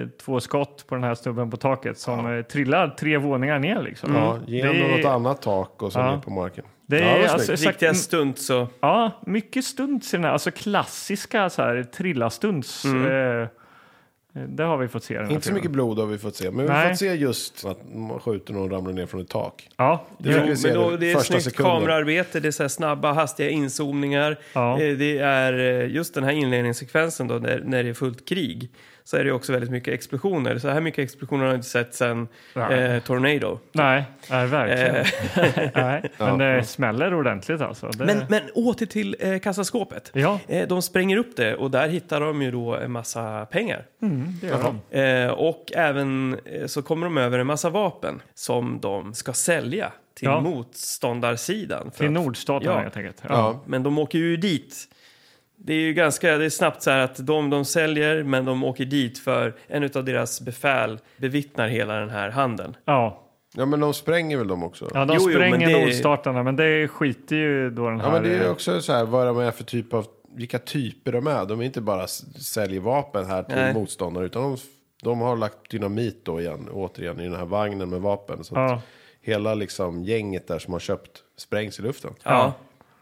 Speaker 3: eh, två skott på den här snubben på taket som eh, trillar tre våningar ner liksom.
Speaker 1: Ja, ge
Speaker 3: Det-
Speaker 1: honom något annat tak och sen
Speaker 3: Ja.
Speaker 1: ner på marken.
Speaker 3: Det
Speaker 1: ja,
Speaker 3: är
Speaker 1: var
Speaker 3: alltså
Speaker 1: snyggt.
Speaker 3: exakt-
Speaker 2: Riktiga stunt så.
Speaker 3: Ja, mycket stunts i den här, alltså klassiska så här trilla-stunts. Eh, det har vi fått se i den här
Speaker 1: Inte så
Speaker 3: filmen.
Speaker 1: mycket blod har vi fått se, men vi har
Speaker 3: Nej.
Speaker 1: fått se just att man skjuter någon och ramlar ner från ett tak.
Speaker 3: Ja,
Speaker 1: Det
Speaker 2: Jo,
Speaker 1: fick vi se
Speaker 2: men då,
Speaker 1: de
Speaker 2: det är
Speaker 1: första
Speaker 2: snyggt
Speaker 1: sekunden.
Speaker 2: kamerarbete, det är så här snabba, hastiga inzoomningar.
Speaker 3: Ja.
Speaker 2: Eh, Det är eh, just den här inledningssekvensen då, när, när det är fullt krig. Så är det också väldigt mycket explosioner. Så här mycket explosioner har jag inte sett sen eh, Tornado.
Speaker 3: nej, nej verkligen.
Speaker 2: Eh,
Speaker 3: [LAUGHS] nej. Men det smäller ordentligt alltså. Det,
Speaker 2: men, men åter till eh, kassaskåpet.
Speaker 3: Ja.
Speaker 2: Eh, de spränger upp det och där hittar de ju då en massa pengar.
Speaker 3: det gör de.
Speaker 2: Eh, och även eh, så kommer de över en massa vapen som de ska sälja till
Speaker 3: Ja.
Speaker 2: motståndarsidan. För
Speaker 3: Till
Speaker 2: att-
Speaker 3: nordstaterna
Speaker 2: Ja.
Speaker 3: helt enkelt.
Speaker 1: Ja.
Speaker 2: Men de åker ju dit. Det är ju ganska det är snabbt så här att de, de säljer men de åker dit för en av deras befäl bevittnar hela den här handeln.
Speaker 3: ja.
Speaker 1: ja, men de spränger väl dem också?
Speaker 3: Ja, de
Speaker 2: Jo, jo,
Speaker 3: spränger
Speaker 2: men det-
Speaker 3: nordstaterna, men det skiter ju då den här...
Speaker 1: Ja,
Speaker 3: eh,
Speaker 1: men det är ju också så här vad de är för typ av, vilka typer de är. De är inte bara s- säljer vapen här till
Speaker 2: Nej.
Speaker 1: motståndare, utan de, de har lagt dynamit då igen, återigen, i den här vagnen med vapen. Så
Speaker 3: Ja.
Speaker 1: att hela liksom gänget där som har köpt sprängs i luften.
Speaker 2: Ja.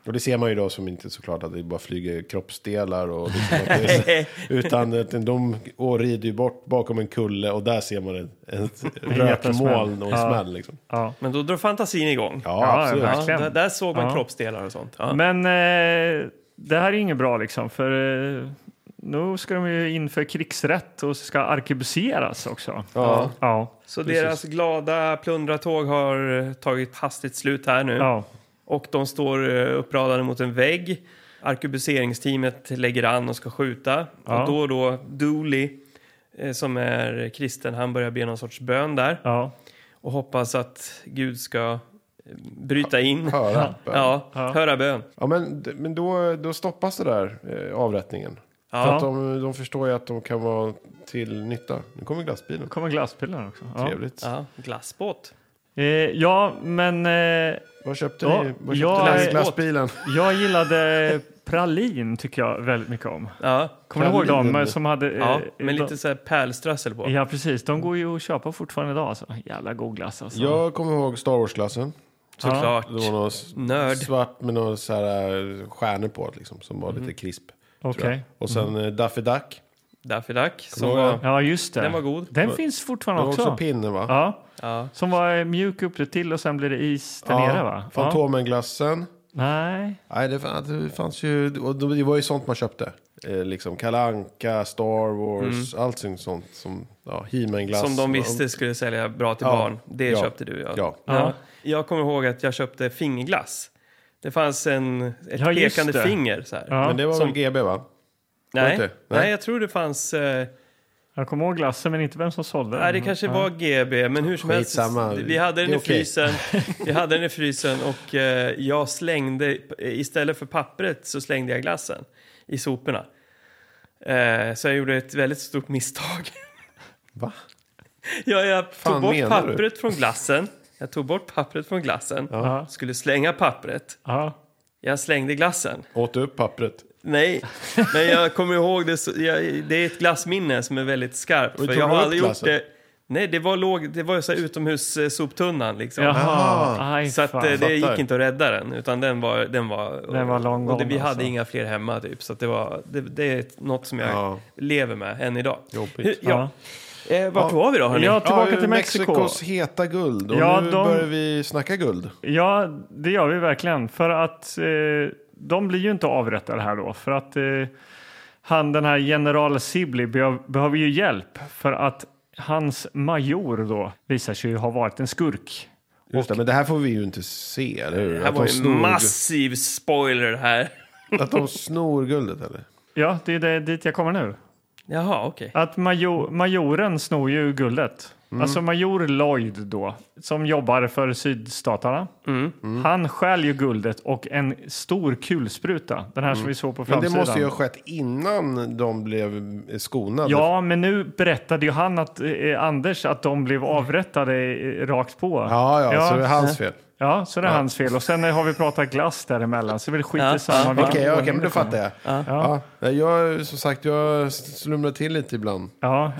Speaker 1: Och det ser man ju då som inte såklart att det bara flyger kroppsdelar och liksom att
Speaker 2: [LAUGHS]
Speaker 1: det är, utan att de och rider ju bort bakom en kulle och där ser man ett,
Speaker 3: [LAUGHS]
Speaker 1: ett rökmoln och en smäll liksom. Ja,
Speaker 2: Men då drar fantasin igång.
Speaker 3: Ja,
Speaker 1: absolut.
Speaker 3: verkligen.
Speaker 2: där, där såg man
Speaker 3: Ja.
Speaker 2: kroppsdelar och sånt. Ja.
Speaker 3: Men eh, det här är inget bra liksom, för eh, nu ska de ju in för krigsrätt och ska arkebuseras också.
Speaker 1: Ja.
Speaker 3: Ja.
Speaker 2: Så deras glada plundratåg har eh, tagit hastigt slut här nu.
Speaker 3: ja.
Speaker 2: Och de står eh, uppradade mot en vägg. Arkebuseringsteamet lägger an och ska skjuta.
Speaker 3: Ja.
Speaker 2: Och då och då, Dooley, eh, som är kristen, han börjar be någon sorts bön där.
Speaker 3: ja.
Speaker 2: och hoppas att Gud ska eh, bryta in.
Speaker 1: Höra.
Speaker 2: Ja, höra bön.
Speaker 1: Ja, men, d- men då, då stoppas det där eh, avrättningen. För
Speaker 2: Ja.
Speaker 1: att de, de förstår ju att de kan vara till nytta. Nu kommer glassbilen.
Speaker 3: kommer glasspillen också. Ja,
Speaker 1: Trevligt.
Speaker 2: Ja, glassbåt.
Speaker 3: eh, ja men eh,
Speaker 1: Vad köpte
Speaker 3: Ja,
Speaker 1: ni? Vad köpte
Speaker 3: jag-
Speaker 1: ni i glassbilen?
Speaker 3: jag gillade pralin tycker jag väldigt mycket om.
Speaker 2: Ja,
Speaker 3: Kommer du ihåg dem eh,
Speaker 1: Pralin.
Speaker 3: som hade... eh,
Speaker 2: ja med
Speaker 3: de,
Speaker 2: lite så här pärlströssel på.
Speaker 3: ja, precis. De går ju att köpa fortfarande idag. Alltså. Jävla god glass alltså.
Speaker 1: Jag kommer ihåg Star Wars-glassen.
Speaker 2: Såklart.
Speaker 1: Det var något s-
Speaker 2: Nörd.
Speaker 1: svart med några så här eh, stjärnor på liksom, som var lite krisp. tror
Speaker 3: Mhm. Okej. Mhm.
Speaker 1: jag. Och sen eh, Daffy Duck.
Speaker 2: Daffy Duck. Som
Speaker 1: Kommer du ihåg
Speaker 2: var,
Speaker 3: Ja, just det.
Speaker 2: Den var god.
Speaker 3: Den finns
Speaker 1: Det
Speaker 3: fortfarande
Speaker 1: var
Speaker 3: också.
Speaker 1: också pinne va?
Speaker 3: ja.
Speaker 2: ja.
Speaker 3: Som var eh, mjuk upp till och sen blir det is där nere va? Ja.
Speaker 1: Fantomenglassen.
Speaker 3: Nej.
Speaker 1: Nej, det, fann- det fanns ju... Och det var ju sånt man köpte. Eh, liksom Kalanka, Star Wars,
Speaker 3: Mm.
Speaker 1: allt sånt- sånt. Som, ja, He-Man-glass.
Speaker 2: Som de visste skulle sälja bra till
Speaker 1: Ja.
Speaker 2: barn. Det
Speaker 1: Ja.
Speaker 2: köpte du, ja.
Speaker 1: Ja.
Speaker 2: Jag kommer ihåg att jag köpte fingerglass. Det fanns en, ett
Speaker 3: Ja, just
Speaker 2: pekande
Speaker 3: det.
Speaker 2: finger. Så här.
Speaker 3: Ja.
Speaker 1: Men det var
Speaker 2: Som-
Speaker 1: väl GB va?
Speaker 2: Nej.
Speaker 1: inte?
Speaker 2: Nej.
Speaker 1: Nej.
Speaker 2: jag tror det fanns... Eh,
Speaker 3: Jag kommer ihåg glassen men inte vem som sålde
Speaker 2: Nej, det
Speaker 3: den.
Speaker 2: kanske var GB, men hur som helst.
Speaker 1: Mm, Skitsamma.
Speaker 2: Vi hade den
Speaker 1: Det
Speaker 2: i
Speaker 1: är okej.
Speaker 2: frysen. Vi hade
Speaker 1: [LAUGHS]
Speaker 2: den i frysen och eh, jag slängde, istället för pappret så slängde jag glassen i soporna. Eh, så jag gjorde ett väldigt stort misstag. [LAUGHS]
Speaker 1: Va?
Speaker 2: Jag, jag tog
Speaker 1: Fan,
Speaker 2: bort
Speaker 1: menar du?
Speaker 2: pappret från glassen. Jag tog bort pappret från glassen.
Speaker 3: Ja.
Speaker 2: Skulle slänga pappret.
Speaker 3: Ja.
Speaker 2: Jag slängde glassen.
Speaker 1: Åt du upp pappret?
Speaker 2: Nej, men jag kommer ihåg det. Så, jag, det är ett glassminne som är väldigt skarpt.
Speaker 1: Och
Speaker 2: För
Speaker 1: tog
Speaker 2: jag
Speaker 1: du
Speaker 2: har
Speaker 1: upp
Speaker 2: aldrig gjort
Speaker 1: glassen?
Speaker 2: det. Nej, det var, låg, det var ju så här utomhussoptunnan liksom.
Speaker 3: Jaha.
Speaker 1: Ah.
Speaker 3: Aj,
Speaker 2: Så att, eh,
Speaker 3: fan.
Speaker 2: det
Speaker 1: Fattar.
Speaker 2: gick inte att rädda den, utan den var... Den var,
Speaker 3: Den var lång
Speaker 2: och det, Vi
Speaker 3: gång,
Speaker 2: hade
Speaker 3: alltså.
Speaker 2: inga fler hemma typ, så att det, var, det, det är något som jag
Speaker 1: Ja.
Speaker 2: lever med än idag.
Speaker 1: Jobbigt.
Speaker 2: ja. Eh, vart var vi då hörni?
Speaker 3: Ja, tillbaka
Speaker 1: Ja,
Speaker 3: till Mexiko.
Speaker 1: Mexikos heta guld. Och
Speaker 3: Ja,
Speaker 1: nu
Speaker 3: de-
Speaker 1: börjar vi snacka guld.
Speaker 3: Ja, det gör vi verkligen. För att eh, de blir ju inte avrättade här då. För att eh, han, den här general Sibley be- behöver ju hjälp. För att hans major då visar sig ju ha varit en skurk.
Speaker 1: Just det, men det här får vi ju inte se, eller hur?
Speaker 2: det här
Speaker 1: att,
Speaker 2: var
Speaker 1: de
Speaker 2: ju
Speaker 1: snor,
Speaker 2: massiv spoiler här.
Speaker 1: att de snor guldet, eller?
Speaker 3: Ja, det är det, dit jag kommer nu.
Speaker 2: Jaha, okej.
Speaker 3: Att major, majoren snor ju guldet.
Speaker 1: Mm.
Speaker 3: Alltså major Lloyd då, som jobbar för sydstaterna.
Speaker 1: Mm.
Speaker 3: Han stjäl ju guldet och en stor kulspruta. Den här som vi såg på
Speaker 1: Mm. Men
Speaker 3: framsidan.
Speaker 1: det måste ju ha skett innan de blev skonade.
Speaker 3: Ja, men nu berättade ju han att eh, Anders att de blev avrättade eh, rakt på.
Speaker 1: Ja, ja,
Speaker 3: ja,
Speaker 1: så det är hans fel.
Speaker 3: ja, så det är hans fel. Och sen eh, har vi pratat glass däremellan, så vi skiter
Speaker 2: Ja,
Speaker 3: samma.
Speaker 2: ja.
Speaker 3: vilken
Speaker 1: Okej, okej,
Speaker 3: ordning
Speaker 1: men
Speaker 3: det
Speaker 1: då fattar
Speaker 3: kommer.
Speaker 1: jag. Ja. Ja, jag. Som sagt, jag slumrar till lite ibland.
Speaker 3: Ja,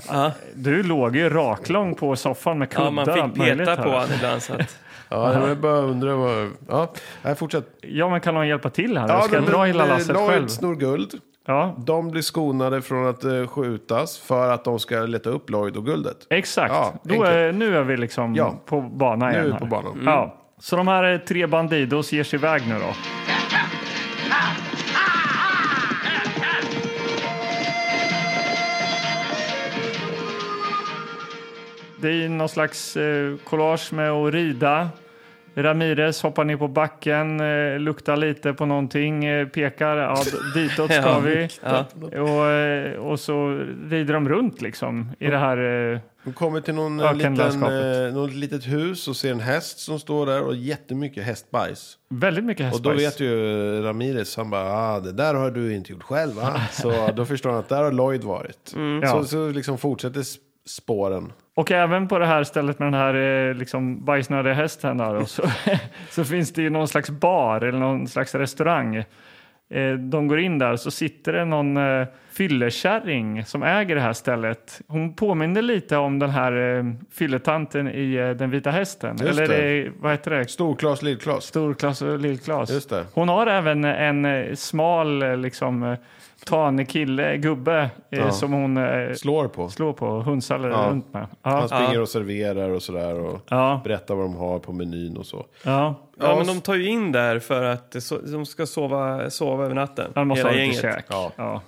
Speaker 3: du låg ju raklång på soffan med kuddar.
Speaker 2: Ja, man
Speaker 3: och allt
Speaker 2: fick
Speaker 3: möjligt
Speaker 2: peta
Speaker 3: här.
Speaker 2: på honom ibland så att...
Speaker 1: Ja, jag vill bara undrar vad... Ja, nej, fortsätt.
Speaker 3: Ja, men kan någon hjälpa till här?
Speaker 1: Ja,
Speaker 3: Ja, ska jag
Speaker 1: de-
Speaker 3: dra hela
Speaker 1: de-
Speaker 3: lasset
Speaker 1: Lloyd
Speaker 3: själv?
Speaker 1: snor guld.
Speaker 3: Ja,
Speaker 1: De blir skonade från att eh, skjutas för att de ska leta upp Lloyd och guldet.
Speaker 3: exakt.
Speaker 1: Ja,
Speaker 3: Då
Speaker 1: enkelt.
Speaker 3: är, nu är vi liksom
Speaker 1: Ja.
Speaker 3: på banan
Speaker 1: Nu
Speaker 3: igen.
Speaker 1: är vi
Speaker 3: här.
Speaker 1: på banan. Mm.
Speaker 3: Ja. Så de här eh, tre Bandidos ger sig iväg nu då. Det är ju någon slags eh, collage med att rida. Ramirez hoppar ner på backen, eh, luktar lite på någonting, eh, pekar ja, d-
Speaker 1: [LAUGHS]
Speaker 3: ditåt ska
Speaker 2: Ja,
Speaker 3: vi.
Speaker 2: ja.
Speaker 3: Och, eh, och så rider de runt liksom i det här. eh,
Speaker 1: De kommer till någon eh, liten,
Speaker 3: Ökenlandskapet.
Speaker 1: eh, något litet hus och ser en häst som står där och jättemycket hästbajs.
Speaker 3: Väldigt mycket
Speaker 1: Och
Speaker 3: hästbajs.
Speaker 1: då vet ju Ramirez, han bara, ah, det där har du inte gjort själv va?
Speaker 3: [LAUGHS]
Speaker 1: Så då förstår han att där har Lloyd varit.
Speaker 3: Mm. Ja.
Speaker 1: Så, så liksom fortsätter s- spåren.
Speaker 3: Och även på det här stället med den här eh, liksom bajsnödiga hästen där då, så, [LAUGHS] så finns det ju någon slags bar eller någon slags restaurang. Eh, De går in där så sitter det någon eh, fyllekärring som äger det här stället. Hon påminner lite om den här eh, fylletanten i eh, Den vita hästen.
Speaker 1: Just
Speaker 3: eller
Speaker 1: det.
Speaker 3: det. vad heter det?
Speaker 1: Storklas, lillklas.
Speaker 3: Storklas och Lillklas.
Speaker 1: Just det.
Speaker 3: Hon har även en eh, smal eh, liksom, eh, tanig kille, gubbe, eh,
Speaker 1: Ja.
Speaker 3: som hon eh,
Speaker 1: Slår på.
Speaker 3: slår på och hunsar
Speaker 1: Ja. Alltså,
Speaker 3: runt med. Ja.
Speaker 1: Han springer och serverar och sådär och
Speaker 3: Ja.
Speaker 1: berättar vad de har på menyn och så.
Speaker 3: Ja.
Speaker 2: Ja, men de tar ju in där för att det so- de ska sova, sova över natten.
Speaker 3: Han måste
Speaker 2: hela
Speaker 3: ha lite
Speaker 2: gänget.
Speaker 3: käk. Ja. Ja.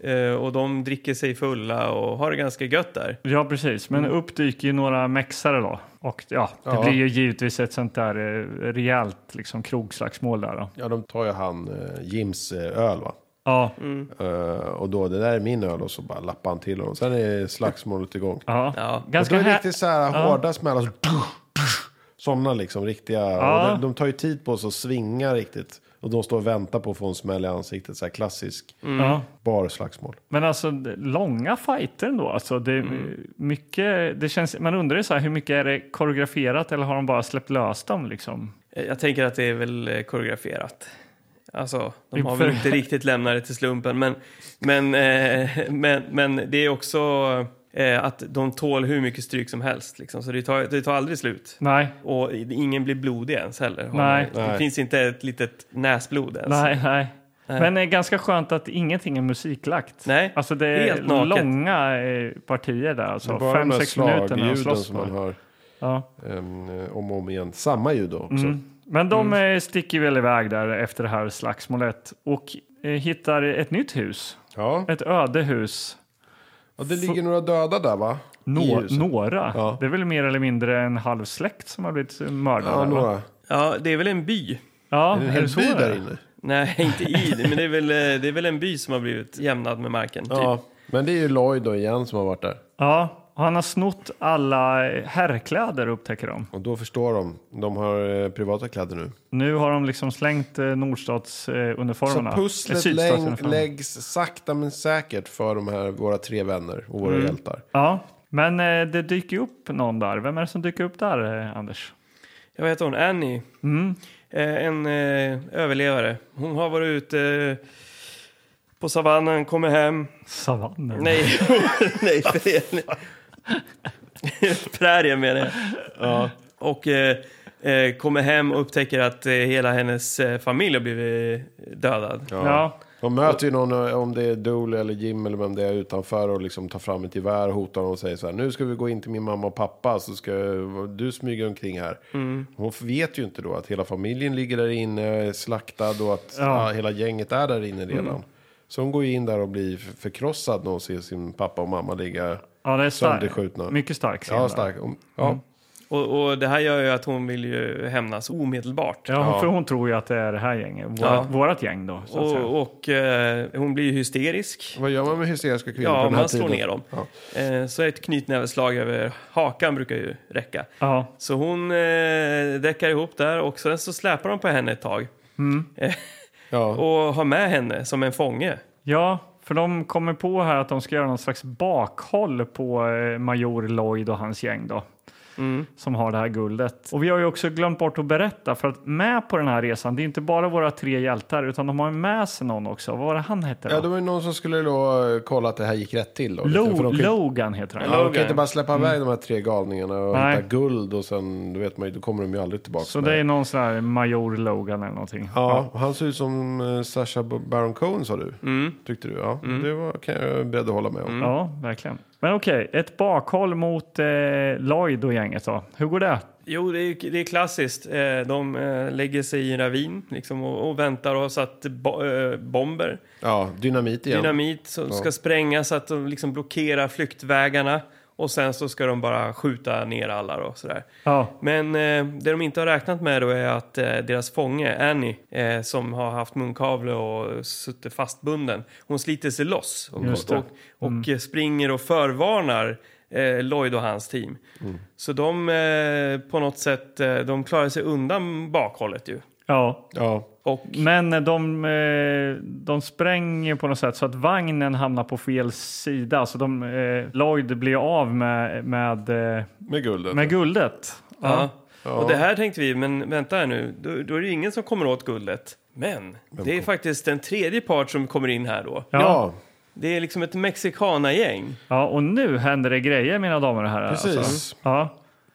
Speaker 2: Ja, eh, och de dricker sig fulla och har det ganska gött där.
Speaker 3: precis. Men upp dyker ju några mexare då. Och ja, det
Speaker 1: Ja.
Speaker 3: blir ju givetvis ett sånt där eh, rejält liksom, krogslagsmål där då.
Speaker 1: Ja, de tar ju han eh, Jims eh, öl va?
Speaker 3: Ja,
Speaker 1: Eh, och då, det där är min öl och så bara lappar han till honom. Sen är slagsmålet igång.
Speaker 3: ja.
Speaker 2: Ja.
Speaker 1: Ganska
Speaker 3: Ganska
Speaker 1: och då är det
Speaker 3: Alltså, här-
Speaker 1: riktigt så här hårda smällar. så- [LAUGHS] Sådana liksom riktiga. Och de, de tar ju tid på sig att svinga riktigt. Och de står och väntar på att få en smäll i ansiktet. Så här klassisk
Speaker 3: ja.
Speaker 1: barslagsmål.
Speaker 3: Men alltså d- långa fighter ändå. Alltså, det, är mycket, det känns, man undrar ju så här, hur mycket är det koreograferat eller har de bara släppt lös dem liksom?
Speaker 2: Eh, Jag tänker att det är väl eh, koreograferat. Alltså, de har
Speaker 3: Inför-
Speaker 2: väl inte riktigt lämnat det till slumpen. Men, men, eh, [LAUGHS] men, men det är också eh, att de tål hur mycket stryk som helst. Liksom. Så det tar, det tar aldrig slut.
Speaker 3: Nej,
Speaker 2: Och ingen blir blodig ens heller. har
Speaker 3: Nej.
Speaker 2: man- Det
Speaker 1: Nej.
Speaker 2: finns inte ett litet näsblod ens.
Speaker 3: nej, nej. Men det är ganska skönt att ingenting är musiklagt.
Speaker 2: Nej,
Speaker 3: Alltså det är
Speaker 2: helt naket.
Speaker 3: långa eh, partier där,
Speaker 1: Det är
Speaker 3: alltså
Speaker 1: bara de där
Speaker 3: 5-6 minuter när
Speaker 1: slagljuden
Speaker 3: de slåss.
Speaker 1: som man
Speaker 3: med.
Speaker 1: hör
Speaker 3: Ja.
Speaker 1: em, eh, om och om igen. Samma ljud då också.
Speaker 3: Men de
Speaker 1: Mm.
Speaker 3: eh, sticker väl iväg där efter det här slagsmålet och eh, hittar ett nytt hus.
Speaker 1: Ja.
Speaker 3: Ett ödehus.
Speaker 1: Och det ligger några döda där va? I
Speaker 3: Nå-
Speaker 1: huset.
Speaker 3: några.
Speaker 1: Ja.
Speaker 3: Det är väl mer eller mindre en halv släkt som har blivit mördade.
Speaker 1: Ja,
Speaker 3: va?
Speaker 1: några.
Speaker 2: Ja, det är väl en by.
Speaker 3: Ja,
Speaker 1: En
Speaker 3: är det
Speaker 1: hel
Speaker 3: så Typ.
Speaker 1: by
Speaker 3: det är?
Speaker 1: där inne.
Speaker 2: Nej, [LAUGHS] inte i det, men det är, väl, eh, det är väl en by som har blivit jämnad med marken. Typ.
Speaker 1: Ja. Men det är ju Lloyd då igen som har varit där.
Speaker 3: Ja, och han har snott alla herrkläder upptäcker de.
Speaker 1: Och då förstår de. De har eh, privata kläder nu.
Speaker 3: Nu har de liksom slängt eh, nordstatsuniformerna. Eh,
Speaker 1: Så pusslet läng, läggs sakta men säkert för de här, våra tre vänner och våra hjältar.
Speaker 3: Ja, men eh, det dyker ju upp någon där. Vem är det som dyker upp där, eh, Anders? Mm.
Speaker 2: Jag vet hon, Annie. Eh, en eh, överlevare. Hon har varit ute eh, på
Speaker 3: [LAUGHS]
Speaker 2: savannen, kommer hem. [LAUGHS]
Speaker 3: Savannen?
Speaker 2: Nej, nej, fel. prärien menar jag. Ja. Och eh, eh, kommer hem och upptäcker att eh, hela hennes eh, familj har blivit eh, dödad.
Speaker 3: Ja.
Speaker 1: De möter ju någon, eh, om det är Dooley eller Jim eller vem det är utanför och liksom tar fram ett gevär och hotar honom och säger så här. Nu ska vi gå in till min mamma och pappa så ska du smyga omkring här.
Speaker 2: Mm.
Speaker 1: Hon vet ju inte då att hela familjen ligger där inne är slaktad och att ja.
Speaker 3: Ja.
Speaker 1: hela gänget är där inne redan.
Speaker 2: Mm.
Speaker 1: Så hon går ju in där och blir f- förkrossad när hon ser sin pappa och mamma ligga
Speaker 3: Ja, det är
Speaker 1: sönderskjutna.
Speaker 3: stark. Mycket stark scen.
Speaker 1: Ja,
Speaker 3: där.
Speaker 1: stark. Ja.
Speaker 2: Och, och det här gör ju att hon vill ju hämnas omedelbart.
Speaker 3: Ja, för hon tror ju att det är det här gänget. Vårat,
Speaker 2: Ja.
Speaker 3: vårat gäng då. Så att säga.
Speaker 2: Och, och eh, hon blir ju hysterisk.
Speaker 1: Vad gör man med hysteriska kvinnor på
Speaker 2: Ja,
Speaker 1: den här
Speaker 2: man slår
Speaker 1: tiden?
Speaker 2: ner dem.
Speaker 1: Ja.
Speaker 2: Eh, så ett knytnäveslag över hakan brukar ju räcka.
Speaker 3: Ja.
Speaker 2: Så hon eh, däckar ihop där och sen så släpar de på henne ett tag. Eh,
Speaker 1: Ja.
Speaker 2: och har med henne som en fånge.
Speaker 3: ja, för de kommer på här att de ska göra någon slags bakhåll på eh, Major Lloyd och hans gäng då. Som har det här guldet. Och vi har ju också glömt bort att berätta för att med på den här resan, det är inte bara våra tre hjältar utan de har ju med sig någon också. Vad var det han hette?
Speaker 1: Ja, det
Speaker 3: då?
Speaker 1: var ju någon som skulle då eh, kolla att det här gick rätt till. Då, lite, för
Speaker 3: Lo-
Speaker 1: de kan ju-
Speaker 3: Logan heter han.
Speaker 1: Ja, de kan inte bara släppa iväg de här tre galningarna och
Speaker 3: Nej.
Speaker 1: hitta guld och sen, då vet man ju, då kommer de ju aldrig tillbaka.
Speaker 3: Så
Speaker 1: med.
Speaker 3: det är någon sån här Major Logan eller någonting.
Speaker 1: Ja, och han ser ut som eh, Sacha B- Baron Cohen sa du.
Speaker 2: Mm.
Speaker 1: Tyckte du? Ja, det var, kan jag är beredd att hålla med om.
Speaker 3: Ja, verkligen. Men okej, ett bakhåll mot eh, Lloyd och gänget då. Hur går det?
Speaker 2: Jo, det är, det är klassiskt. Eh, De eh, lägger sig i en ravin liksom, och, och väntar och har satt bo eh, bomber,
Speaker 1: Ja, dynamit igen.
Speaker 2: dynamit som ska sprängas så att de liksom blockerar flyktvägarna. Och sen så ska de bara skjuta ner alla då, sådär.
Speaker 3: Ja,
Speaker 2: Men eh, det de inte har räknat med då är att eh, deras fånge Annie, eh, som har haft munkavle och suttit fastbunden, hon sliter sig loss och,
Speaker 3: Just det.
Speaker 2: och, och eh, springer och förvarnar eh, Lloyd och hans team. Så de eh, på något sätt, eh, de klarar sig undan bakhållet ju.
Speaker 3: ja.
Speaker 1: Ja,
Speaker 2: Och
Speaker 3: Men de, eh, de spränger på något sätt så att vagnen hamnar på fel sida. Så de, eh, Lloyd blir av med, med, eh,
Speaker 1: med guldet.
Speaker 3: med guldet.
Speaker 2: Ja. Och det här tänkte vi, men vänta här nu, då, då är det ju ingen som kommer åt guldet. Men det är faktiskt en tredje part som kommer in här då.
Speaker 1: Ja,
Speaker 2: Det är liksom ett mexikanagäng.
Speaker 3: ja, och nu händer det grejer mina damer och herrar.
Speaker 1: precis.
Speaker 3: Alltså. Ja,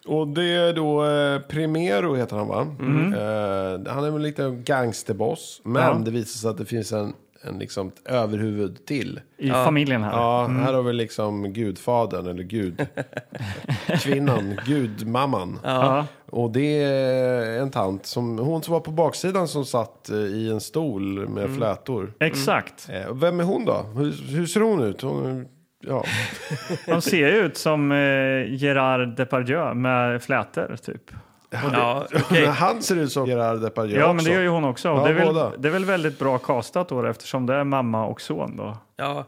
Speaker 1: Och det är då eh, Primero heter han va?
Speaker 2: Mm.
Speaker 1: Eh, han är väl lite en gangsterboss. Men
Speaker 3: Mm. Ja.
Speaker 1: det visar sig att det finns en, en liksom, ett överhuvud till.
Speaker 3: I familjen här.
Speaker 1: Ja, här
Speaker 2: Mm.
Speaker 1: har vi liksom gudfadern eller gud.
Speaker 2: [LAUGHS]
Speaker 1: Kvinnan, gudmamman.
Speaker 3: Ja.
Speaker 1: Och det är en tant, som, hon som var på baksidan som satt eh, i en stol med
Speaker 2: Mm.
Speaker 1: flätor.
Speaker 3: Exakt.
Speaker 1: Eh, och Vem är hon då? Hur, hur ser hon ut? Hon, ja.
Speaker 3: De ser ju ut som eh, Gerard Depardieu med flätor typ.
Speaker 2: [LAUGHS] Ja,
Speaker 1: [LAUGHS]
Speaker 2: okej.
Speaker 1: Han ser ut som Gerard Depardieu
Speaker 3: Ja,
Speaker 1: också.
Speaker 3: men det gör ju hon också.
Speaker 1: Ja,
Speaker 3: det, är
Speaker 1: båda.
Speaker 3: väl, det är väl väldigt bra castat då eftersom det är mamma och son då.
Speaker 2: Ja,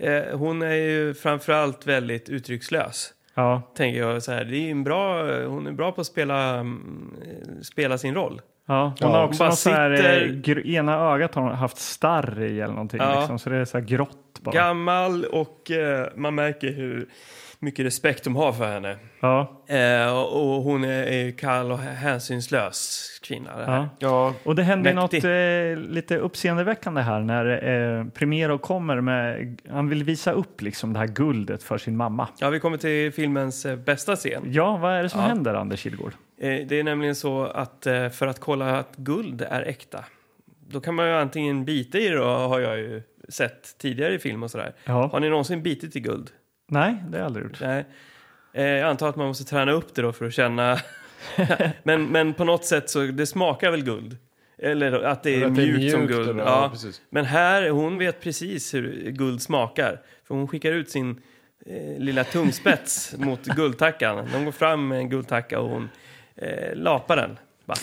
Speaker 2: eh, hon är ju framförallt väldigt uttryckslös.
Speaker 3: Ja,
Speaker 2: Tänker jag så här, det är ju en bra, hon är bra på att spela, mm, eh, spela sin roll.
Speaker 3: ja. Hon
Speaker 1: Ja.
Speaker 3: har
Speaker 2: Hon
Speaker 3: också
Speaker 2: bara
Speaker 3: något så här, eh,
Speaker 2: sitter-
Speaker 3: gr- ena ögat har hon haft starr i eller någonting
Speaker 2: Ja.
Speaker 3: liksom, så det är så här grått bara.
Speaker 2: Gammal och eh, man märker hur mycket respekt de har för henne.
Speaker 3: Ja.
Speaker 2: Eh, och hon är, är ju kall och hänsynslös kvinna. Det här.
Speaker 3: Ja.
Speaker 1: Ja,
Speaker 3: Och det händer
Speaker 2: Mäktig.
Speaker 3: något eh, lite uppseendeväckande här när eh, Primero kommer med, han vill visa upp liksom det här guldet för sin mamma.
Speaker 2: Ja, vi kommer till filmens eh, bästa scen.
Speaker 3: Ja, vad är det som händer Anders Kilgård?
Speaker 2: Eh, Det är nämligen så att eh, för att kolla att guld är äkta då kan man ju antingen bita i det, då, har jag ju sett tidigare i film och sådär.
Speaker 3: Ja.
Speaker 2: Har ni någonsin bitit i guld?
Speaker 3: Nej, det har jag aldrig gjort.
Speaker 2: Nej. Eh, Jag antar att man måste träna upp det då för att
Speaker 1: [LAUGHS]
Speaker 2: känna... men, men på något sätt så, det smakar väl guld? Eller att det är,
Speaker 1: Eller att det är
Speaker 2: mjukt, som
Speaker 1: mjukt
Speaker 2: guld.
Speaker 1: eller-
Speaker 2: Ja,
Speaker 1: ja, precis.
Speaker 2: Men här, hon vet precis hur guld smakar. För hon skickar ut sin eh,
Speaker 1: [LAUGHS]
Speaker 2: lilla tungspets mot guldtackan. De går fram med en guldtacka och hon eh, lapar den. Bara.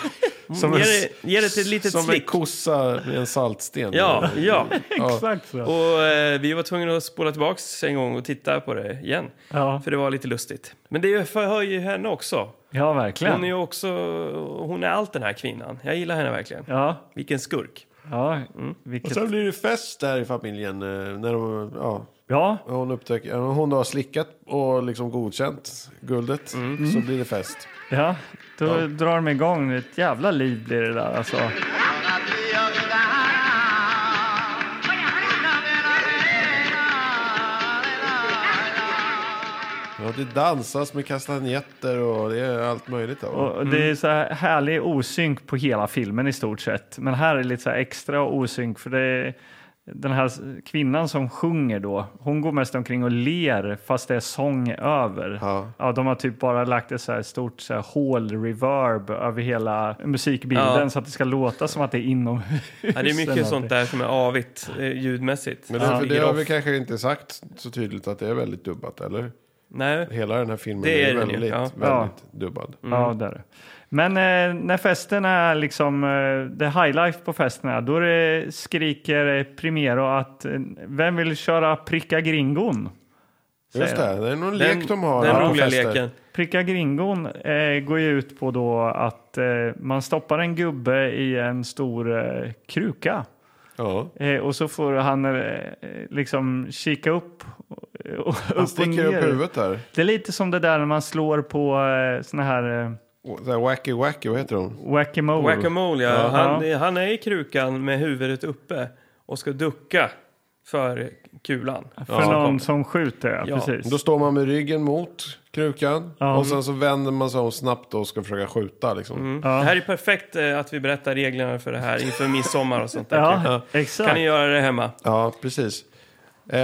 Speaker 1: [LAUGHS] som
Speaker 2: Ger
Speaker 1: en-
Speaker 2: det- ger det ett litet
Speaker 1: Som en
Speaker 2: slick.
Speaker 1: kossa med en saltsten.
Speaker 2: Ja, ja.
Speaker 3: Exakt så.
Speaker 2: Och eh, vi var tvungna att spola tillbaks en gång och titta på det igen.
Speaker 3: Ja,
Speaker 2: För det var lite lustigt. Men det förhör ju henne också.
Speaker 3: ja verkligen.
Speaker 2: Hon är ju också, hon är allt den här kvinnan. Jag gillar henne verkligen.
Speaker 3: Ja,
Speaker 2: Vilken
Speaker 3: [LAUGHS]
Speaker 2: skurk.
Speaker 3: ja.
Speaker 1: Och
Speaker 2: Mm.
Speaker 3: Vilket...
Speaker 1: sen blir det fest där i familjen. eh, När de, ja,
Speaker 3: ja,
Speaker 1: hon, upptäcker, ja, hon har slickat och liksom godkänt guldet.
Speaker 2: Mm.
Speaker 1: Så blir det fest.
Speaker 3: Ja, då drar de igång. Ett jävla liv blir det där alltså.
Speaker 1: Ja, det dansas med kastanjetter och det är allt möjligt. Då.
Speaker 3: Och Det är så här härlig osynk på hela filmen i stort sett. Men här är det lite så här extra osynk för det är den här kvinnan som sjunger då, hon går mest omkring och ler fast det är sång över.
Speaker 1: Ja.
Speaker 3: de har typ bara lagt ett så här stort så här hål-reverb över hela musikbilden
Speaker 2: Ja.
Speaker 3: så att det ska låta som att det är inomhus.
Speaker 2: Ja, det är
Speaker 3: eller
Speaker 2: mycket sånt
Speaker 3: någonting.
Speaker 2: där som är avigt eh, ljudmässigt.
Speaker 1: Men
Speaker 2: Som
Speaker 1: det, för det
Speaker 2: ligger
Speaker 1: har
Speaker 2: off.
Speaker 1: vi kanske inte sagt så tydligt att det är väldigt dubbat, eller?
Speaker 2: Nej,
Speaker 1: Hela den här filmen
Speaker 2: Det
Speaker 1: är,
Speaker 2: är den ju,
Speaker 1: väldigt,
Speaker 2: ja. Mm.
Speaker 1: väldigt dubbad.
Speaker 3: Ja, det är det. Men eh, när festen är liksom, eh, det är high life på festen är, då är det, skriker eh, Primero att eh, vem vill köra pricka gringon? Säger
Speaker 1: Just
Speaker 3: han.
Speaker 1: det, det är någon
Speaker 2: den,
Speaker 1: lek de har.
Speaker 2: den
Speaker 1: här på
Speaker 2: roliga
Speaker 1: fester.
Speaker 2: leken.
Speaker 3: Pricka gringon eh, går ju ut på då att eh, man stoppar en gubbe i en stor eh, kruka.
Speaker 1: Ja.
Speaker 3: Eh, och så får han eh, eh, liksom kika upp eh, och, upp
Speaker 1: Han
Speaker 3: och
Speaker 1: sticker upp
Speaker 3: ner.
Speaker 1: huvudet där.
Speaker 3: Det är lite som det där när man slår på eh, såna här eh,
Speaker 1: Och så här Wacky Wacky, vad heter de?
Speaker 3: whack-a-mole.
Speaker 2: Whack-a-mole, ja.
Speaker 3: Oh. Ja.
Speaker 2: Han, han är i krukan med huvudet uppe och ska ducka för kulan.
Speaker 3: För någon som skjuter, ja.
Speaker 2: Ja.
Speaker 3: Precis.
Speaker 1: Då står man med ryggen mot krukan
Speaker 3: Ja.
Speaker 1: och sen så vänder man sig om snabbt och ska försöka skjuta. Liksom.
Speaker 3: Ja.
Speaker 2: Det här är perfekt eh, att vi berättar reglerna för det här inför midsommar och sånt där.
Speaker 3: Ja,
Speaker 2: Kan ni
Speaker 3: exakt.
Speaker 2: göra det hemma?
Speaker 1: Ja, precis. Eh,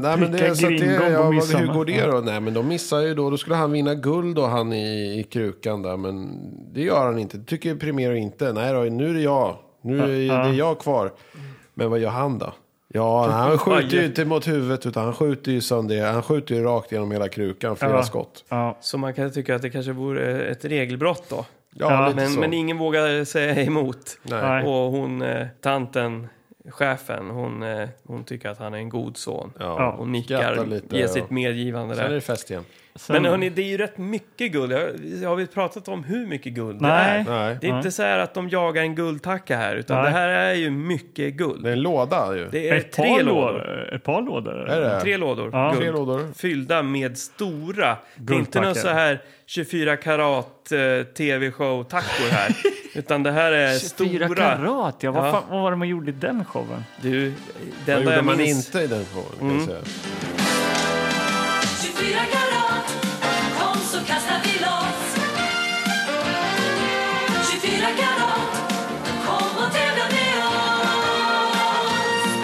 Speaker 1: nej, men
Speaker 3: Pricka
Speaker 1: det, så att det,
Speaker 3: gringon på
Speaker 1: ja, vad, hur
Speaker 3: midsommar.
Speaker 1: går det då? Nej, men de missar ju då. Då skulle han vinna guld och han i, i krukan där. Men det gör han inte. Det tycker Primero inte. Nej då, nu är det jag. Nu är det är jag kvar. Men vad gör han då? Ja, nej, han skjuter ju inte mot huvudet utan han skjuter ju sönder. Han skjuter ju rakt genom hela krukan, flera
Speaker 3: Ja.
Speaker 1: skott.
Speaker 3: Ja.
Speaker 2: Så man kan tycka att det kanske vore eh, ett regelbrott då.
Speaker 1: Ja,
Speaker 3: Ja,
Speaker 1: lite
Speaker 2: Men,
Speaker 1: så.
Speaker 2: men ingen vågar säga emot.
Speaker 1: nej.
Speaker 3: Nej.
Speaker 2: Och hon, eh, tanten, chefen, hon, eh, hon tycker att han är en god son.
Speaker 1: Ja.
Speaker 2: Och
Speaker 1: Skrattar
Speaker 2: nickar,
Speaker 1: lite,
Speaker 2: ger
Speaker 1: ja.
Speaker 2: sitt medgivande
Speaker 1: Sen är det
Speaker 2: där.
Speaker 1: fest igen.
Speaker 3: Sen-
Speaker 2: Men hörni, det är ju rätt mycket guld. Har, har vi pratat om hur mycket guld det
Speaker 3: Nej.
Speaker 2: är?
Speaker 1: Nej.
Speaker 2: Det är inte så här att de jagar en guldtacka här, utan
Speaker 3: Nej.
Speaker 2: det här är ju mycket guld.
Speaker 1: Det är en låda ju.
Speaker 2: Det är
Speaker 3: ett par
Speaker 2: tre
Speaker 3: lådor.
Speaker 2: lådor.
Speaker 3: Ett par lådor?
Speaker 1: Är det?
Speaker 2: Tre lådor
Speaker 3: Ja.
Speaker 2: guld.
Speaker 1: Tre lådor.
Speaker 2: Fyllda med stora. Det är inte
Speaker 3: Guldtackor.
Speaker 2: någon så här 24 karat eh,
Speaker 1: [LAUGHS]
Speaker 2: tv-show-tackor här. utan det här är
Speaker 3: 24
Speaker 2: stora.
Speaker 3: karat, ja. Vad,
Speaker 2: Ja.
Speaker 3: fan, vad var det man gjorde i den showen?
Speaker 2: Du, det
Speaker 1: Vad
Speaker 2: enda
Speaker 1: gjorde
Speaker 2: jag
Speaker 1: man
Speaker 2: minns... Mm.
Speaker 1: inte i den showen? kan jag säga.
Speaker 7: 24 karat, kom så kastar vi loss 24 karat, kom och tävla med oss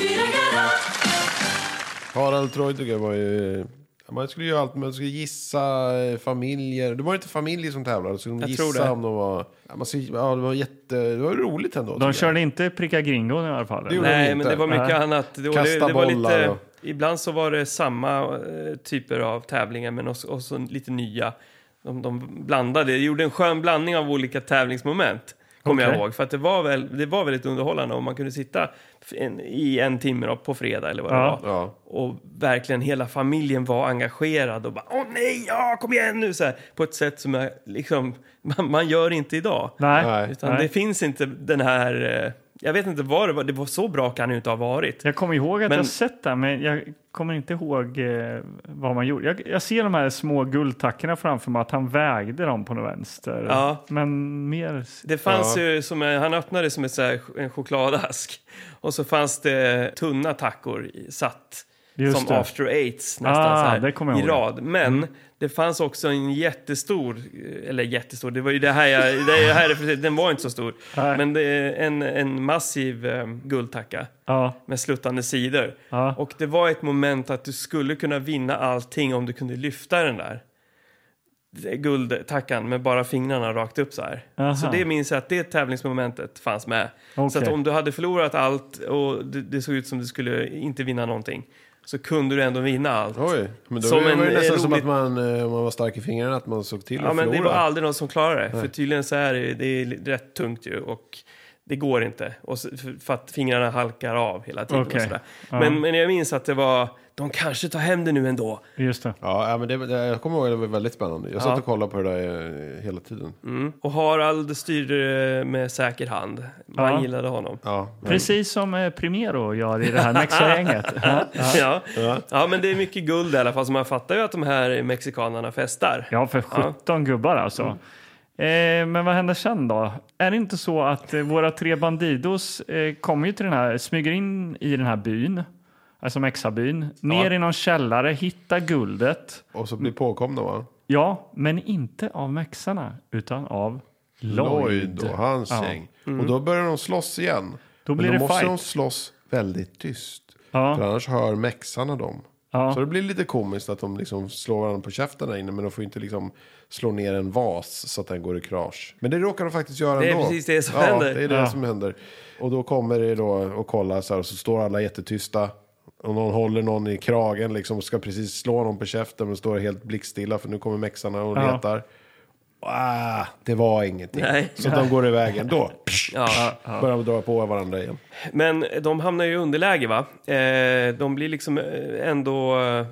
Speaker 7: 24 karat
Speaker 1: Harald Treutiger var ju... Man skulle göra allt, man skulle gissa eh, familjer. Det var inte familjer som tävlade, så skulle de
Speaker 2: Jag
Speaker 1: gissa
Speaker 2: tror det.
Speaker 1: om de var... Ja, man skulle, ja, det var jätte... Det var roligt ändå. tycker
Speaker 3: De
Speaker 1: jag.
Speaker 3: körde inte pricka gringon i alla fall.
Speaker 1: gjorde-
Speaker 3: eller?
Speaker 1: de
Speaker 2: Nej,
Speaker 1: inte.
Speaker 2: men det var mycket
Speaker 3: Nej.
Speaker 2: annat. Det, och det,
Speaker 1: Kasta
Speaker 2: det var
Speaker 1: bollar
Speaker 2: lite,
Speaker 1: och-
Speaker 2: ibland så var det samma eh, typer av tävlingar, men också, också lite nya. De, de blandade, det gjorde en skön blandning av olika tävlingsmoment. Kommer jag
Speaker 3: Okej.
Speaker 2: ihåg, för att det var, väl, det var väldigt underhållande om man kunde sitta f- en, i en timme då, på fredag eller vad det
Speaker 3: Ja.
Speaker 2: var.
Speaker 1: Ja.
Speaker 2: Och verkligen hela familjen var engagerad och bara åh nej, ja kom igen nu så här, på ett sätt som jag, liksom, [LAUGHS] man, man gör inte idag.
Speaker 3: Nej.
Speaker 1: Nej.
Speaker 2: Utan det finns inte den här... eh, Jag vet inte vad det var. Det var så bra kan det ju inte ha varit.
Speaker 3: Jag kommer ihåg att
Speaker 2: Men-
Speaker 3: jag sett det, men jag kommer inte ihåg eh, vad man gjorde. Jag, jag ser de här små guldtackorna framför mig, att han vägde dem på något vänster.
Speaker 2: Ja.
Speaker 3: Men mer...
Speaker 2: Det fanns
Speaker 1: Ja.
Speaker 2: ju som en, han öppnade som ett, så här, en chokladask. Och så fanns det tunna tackor i- satt.
Speaker 3: Just
Speaker 2: som
Speaker 3: det.
Speaker 2: after eights nästan
Speaker 3: Ah,
Speaker 2: så här,
Speaker 3: det kommer jag
Speaker 2: i
Speaker 3: ihåg. Mm.
Speaker 2: rad. Men det fanns också en jättestor, eller jättestor, det var ju det här jag, det är det här, jag försökte- den var inte så stor.
Speaker 3: Nej.
Speaker 2: Men det är en, en massiv eh, guldtacka.
Speaker 3: Ja,
Speaker 2: med sluttande sidor.
Speaker 3: Ja.
Speaker 2: Och det var ett moment att du skulle kunna vinna allting om du kunde lyfta den där guldtackan med bara fingrarna rakt upp så här.
Speaker 3: Aha.
Speaker 2: Så det minns jag att det tävlingsmomentet fanns med. Så
Speaker 3: Okej.
Speaker 2: att om du hade förlorat allt och det, det såg ut som du skulle inte vinna någonting så kunde du ändå vinna allt.
Speaker 1: Oj, men då
Speaker 2: Som
Speaker 1: var det
Speaker 2: en,
Speaker 1: ju
Speaker 2: eh,
Speaker 1: nästan som
Speaker 2: rolig-
Speaker 1: att man, eh, om man var stark i fingrarna, att man såg till
Speaker 2: Ja,
Speaker 1: att
Speaker 2: men det
Speaker 1: förlora.
Speaker 2: var aldrig någon som klarade det. För tydligen så är det, ju- det är rätt tungt ju och det går inte. Och så, för- för att fingrarna halkar av hela tiden.
Speaker 3: Okej.
Speaker 2: Och sådär. Men, men jag minns att det var, de kanske tar hem det nu ändå.
Speaker 3: just det.
Speaker 1: Ja, ja, men det, det, jag kommer ihåg att det var väldigt spännande. Jag satt och kollade på det där eh, hela tiden.
Speaker 2: Och Harald styrde med säker hand. Man
Speaker 3: Ja.
Speaker 2: gillade honom.
Speaker 1: Ja, men-
Speaker 3: Precis som eh, Primero gör i det
Speaker 2: [LAUGHS]
Speaker 3: här Mexa-gänget. ja.
Speaker 2: Ja. Ja. men det är mycket guld i alla fall. Så man fattar ju att de här mexikanerna festar.
Speaker 3: Ja, för 17 gubbar alltså.
Speaker 2: Mm.
Speaker 3: Eh, men vad händer sen då? Är det inte så att eh, våra tre bandidos eh, kommer ju till den här, smyger in i den här byn alltså Mexabyn, ner i någon källare, hitta guldet.
Speaker 1: Och så blir påkomna va?
Speaker 3: Ja, men inte av mexarna, utan av Lloyd.
Speaker 1: Lloyd och hans
Speaker 3: Ja. Mm.
Speaker 1: gäng. Och då börjar de slåss igen.
Speaker 3: Då
Speaker 1: Men
Speaker 3: blir
Speaker 1: då
Speaker 3: det
Speaker 1: måste
Speaker 3: fight.
Speaker 1: de slåss väldigt tyst.
Speaker 3: Ja.
Speaker 1: För annars hör mexarna dem.
Speaker 3: Ja.
Speaker 1: Så det blir lite komiskt att de liksom slår varandra på käften där inne. Men de får inte liksom slå ner en vas så att den går i krasch. Men det råkar de faktiskt göra
Speaker 2: Det är
Speaker 1: ändå.
Speaker 2: precis det som
Speaker 1: ja,
Speaker 2: händer.
Speaker 1: det är det
Speaker 3: Ja.
Speaker 1: som händer. Och då kommer det då och kollar så här. Och så står alla jättetysta. Och någon håller någon i kragen liksom. Och ska precis slå någon på käften. Men står helt blickstilla. För nu kommer mexarna och
Speaker 3: Ja.
Speaker 1: letar. Ah, det var ingenting.
Speaker 2: Nej.
Speaker 1: Så de går iväg ändå.
Speaker 2: Ja.
Speaker 1: Börjar dra på varandra igen.
Speaker 2: Men de hamnar ju i underläge va? Eh, de blir liksom eh, ändå eh,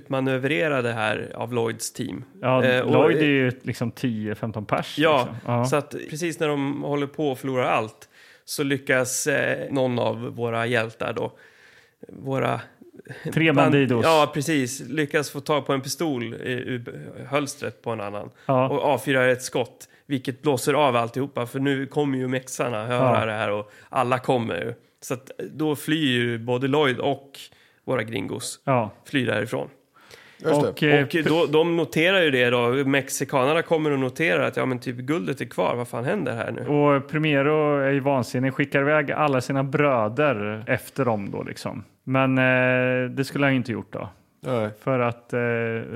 Speaker 2: utmanövrerade här av Lloyds team.
Speaker 3: Ja,
Speaker 2: Eh, och-
Speaker 3: Lloyd är ju liksom 10-15 pers.
Speaker 2: Ja,
Speaker 3: liksom. ja.
Speaker 2: så att precis när de håller på att förlora allt så lyckas eh, någon av våra hjältar då, våra...
Speaker 3: Tre
Speaker 2: band-
Speaker 3: bandidos.
Speaker 2: Ja, precis. Lyckas få tag på en pistol i- ur hölstret på en annan
Speaker 3: Ja.
Speaker 2: och avfyrar ett skott, vilket blåser av alltihopa för nu kommer ju mexarna höra
Speaker 3: Ja.
Speaker 2: det här och alla kommer ju. Så att då flyr ju både Lloyd och våra gringos
Speaker 3: ja.
Speaker 2: flyr därifrån.
Speaker 1: Just det.
Speaker 3: Och, eh,
Speaker 2: Och då, de noterar ju det då. Mexikanerna kommer och noterar att ja men typ guldet är kvar. Vad fan händer här nu?
Speaker 3: Och Primero är ju vansinnig, skickar iväg alla sina bröder efter dem då liksom. Men eh, det skulle han ju inte gjort då.
Speaker 1: Nej.
Speaker 3: För att eh,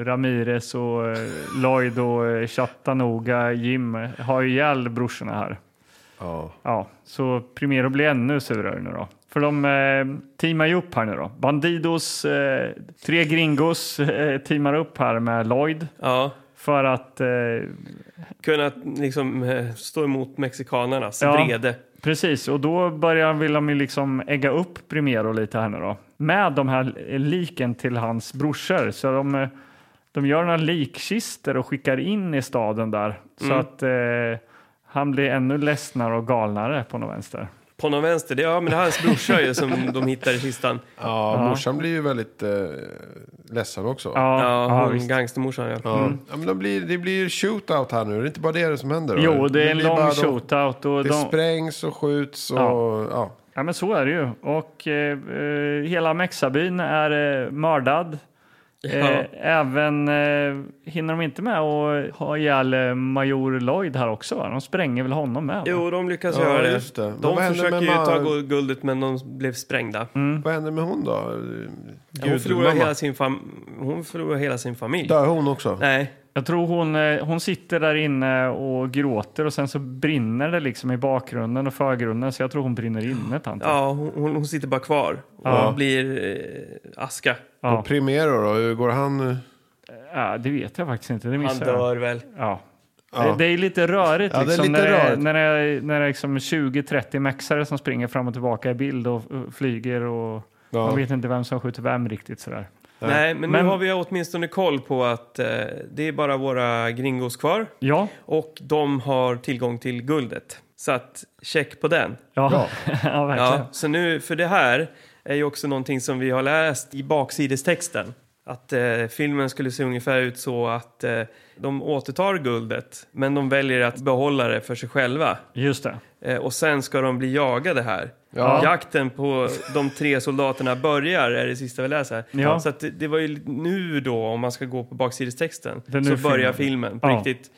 Speaker 3: Ramirez och eh, Lloyd och eh, Chattanooga Jim har ju ihjäl brorsorna här.
Speaker 1: Ja.
Speaker 3: Ja, så Primero blir ännu surare nu då. För de eh, teamar ju upp här nu då. Bandidos, eh, tre gringos eh, teamar upp här med Lloyd.
Speaker 2: Ja,
Speaker 3: För att eh,
Speaker 2: kunna liksom eh, stå emot mexikanernas
Speaker 3: Ja.
Speaker 2: vrede.
Speaker 3: Precis, och då börjar vill de ju liksom ägga upp Primero lite här nu då. Med de här liken till hans brorsor. Så de, eh, de gör några likkistor och skickar in i staden där. Så att eh, han blir ännu ledsnare och galnare på något vänster.
Speaker 2: På någon vänster, det, ja men det är hans brorsa ju som de hittar i kistan.
Speaker 1: Ja, morsan blir ju väldigt eh, ledsen också. Ja.
Speaker 3: Ja, Mm.
Speaker 2: Ja,
Speaker 3: ja,
Speaker 2: hon
Speaker 3: visst.
Speaker 2: gangstermorsan ja.
Speaker 1: Ja, men de blir, det blir shootout här nu, det är inte bara det som händer. då?
Speaker 3: Jo, det är en
Speaker 1: blir bara
Speaker 3: lång
Speaker 1: de-
Speaker 3: shootout. Och
Speaker 1: Det
Speaker 3: de,
Speaker 1: sprängs och skjuts och ja.
Speaker 3: Ja. ja, men så är det ju. Och eh, eh, hela Mexabyn är eh, mördad.
Speaker 2: Ja.
Speaker 3: Eh, även eh, hinner de inte med att ha ihjäl eh, Major Lloyd här också? Va? De spränger väl honom med? Va?
Speaker 2: Jo, de lyckas
Speaker 1: Ja,
Speaker 2: göra det.
Speaker 1: just det. Men vad
Speaker 2: De
Speaker 1: händer
Speaker 2: försöker
Speaker 1: med
Speaker 2: ju
Speaker 1: Ma-
Speaker 2: ta gu- guldet men de blev sprängda.
Speaker 3: Mm.
Speaker 1: Vad händer med hon då?
Speaker 2: Hon
Speaker 1: Gud,
Speaker 2: förlorar,
Speaker 1: mamma.
Speaker 2: hela sin fam- hon förlorar hela sin familj.
Speaker 1: Dör hon också?
Speaker 2: Nej,
Speaker 3: Jag tror hon, eh, hon sitter där inne och gråter och sen så brinner det liksom i bakgrunden och förgrunden så jag tror hon brinner inne tant.
Speaker 2: ja, hon, hon sitter bara kvar och
Speaker 3: Ja.
Speaker 2: blir eh, aska.
Speaker 3: Ja.
Speaker 1: Och Primero då, hur går han?
Speaker 3: Ja, det vet jag faktiskt inte, det
Speaker 2: Han
Speaker 3: missar jag.
Speaker 2: dör väl.
Speaker 3: Ja.
Speaker 1: Ja.
Speaker 3: Det, det är lite rörigt
Speaker 1: Ja, det är
Speaker 3: liksom,
Speaker 1: lite
Speaker 3: när, Det, är-
Speaker 1: rörigt.
Speaker 3: när det är, när det är liksom 20-30 mexare som springer fram och tillbaka i bild och eh, flyger och
Speaker 1: Ja.
Speaker 3: man vet inte vem som skjuter vem riktigt sådär.
Speaker 2: Nej, men,
Speaker 3: Men-
Speaker 2: nu har vi åtminstone koll på att eh, det är bara våra gringos kvar
Speaker 3: Ja,
Speaker 2: och de har tillgång till guldet. Så att check på den.
Speaker 3: ja, [LAUGHS] ja. verkligen.
Speaker 2: Ja, så nu, för det här är ju också någonting som vi har läst i baksidestexten. Att eh, filmen skulle se ungefär ut så att eh, de återtar guldet men de väljer att behålla det för sig själva.
Speaker 3: Just det.
Speaker 2: Eh, och sen ska de bli jagade här.
Speaker 1: Ja.
Speaker 2: Jakten på de tre soldaterna börjar, är det sista vi läser.
Speaker 3: Ja.
Speaker 2: Så att det, det var ju nu då, om man ska gå på baksidestexten,
Speaker 3: Det är
Speaker 2: så
Speaker 3: nu
Speaker 2: börjar
Speaker 3: filmen.
Speaker 2: filmen på
Speaker 3: Ja.
Speaker 2: riktigt.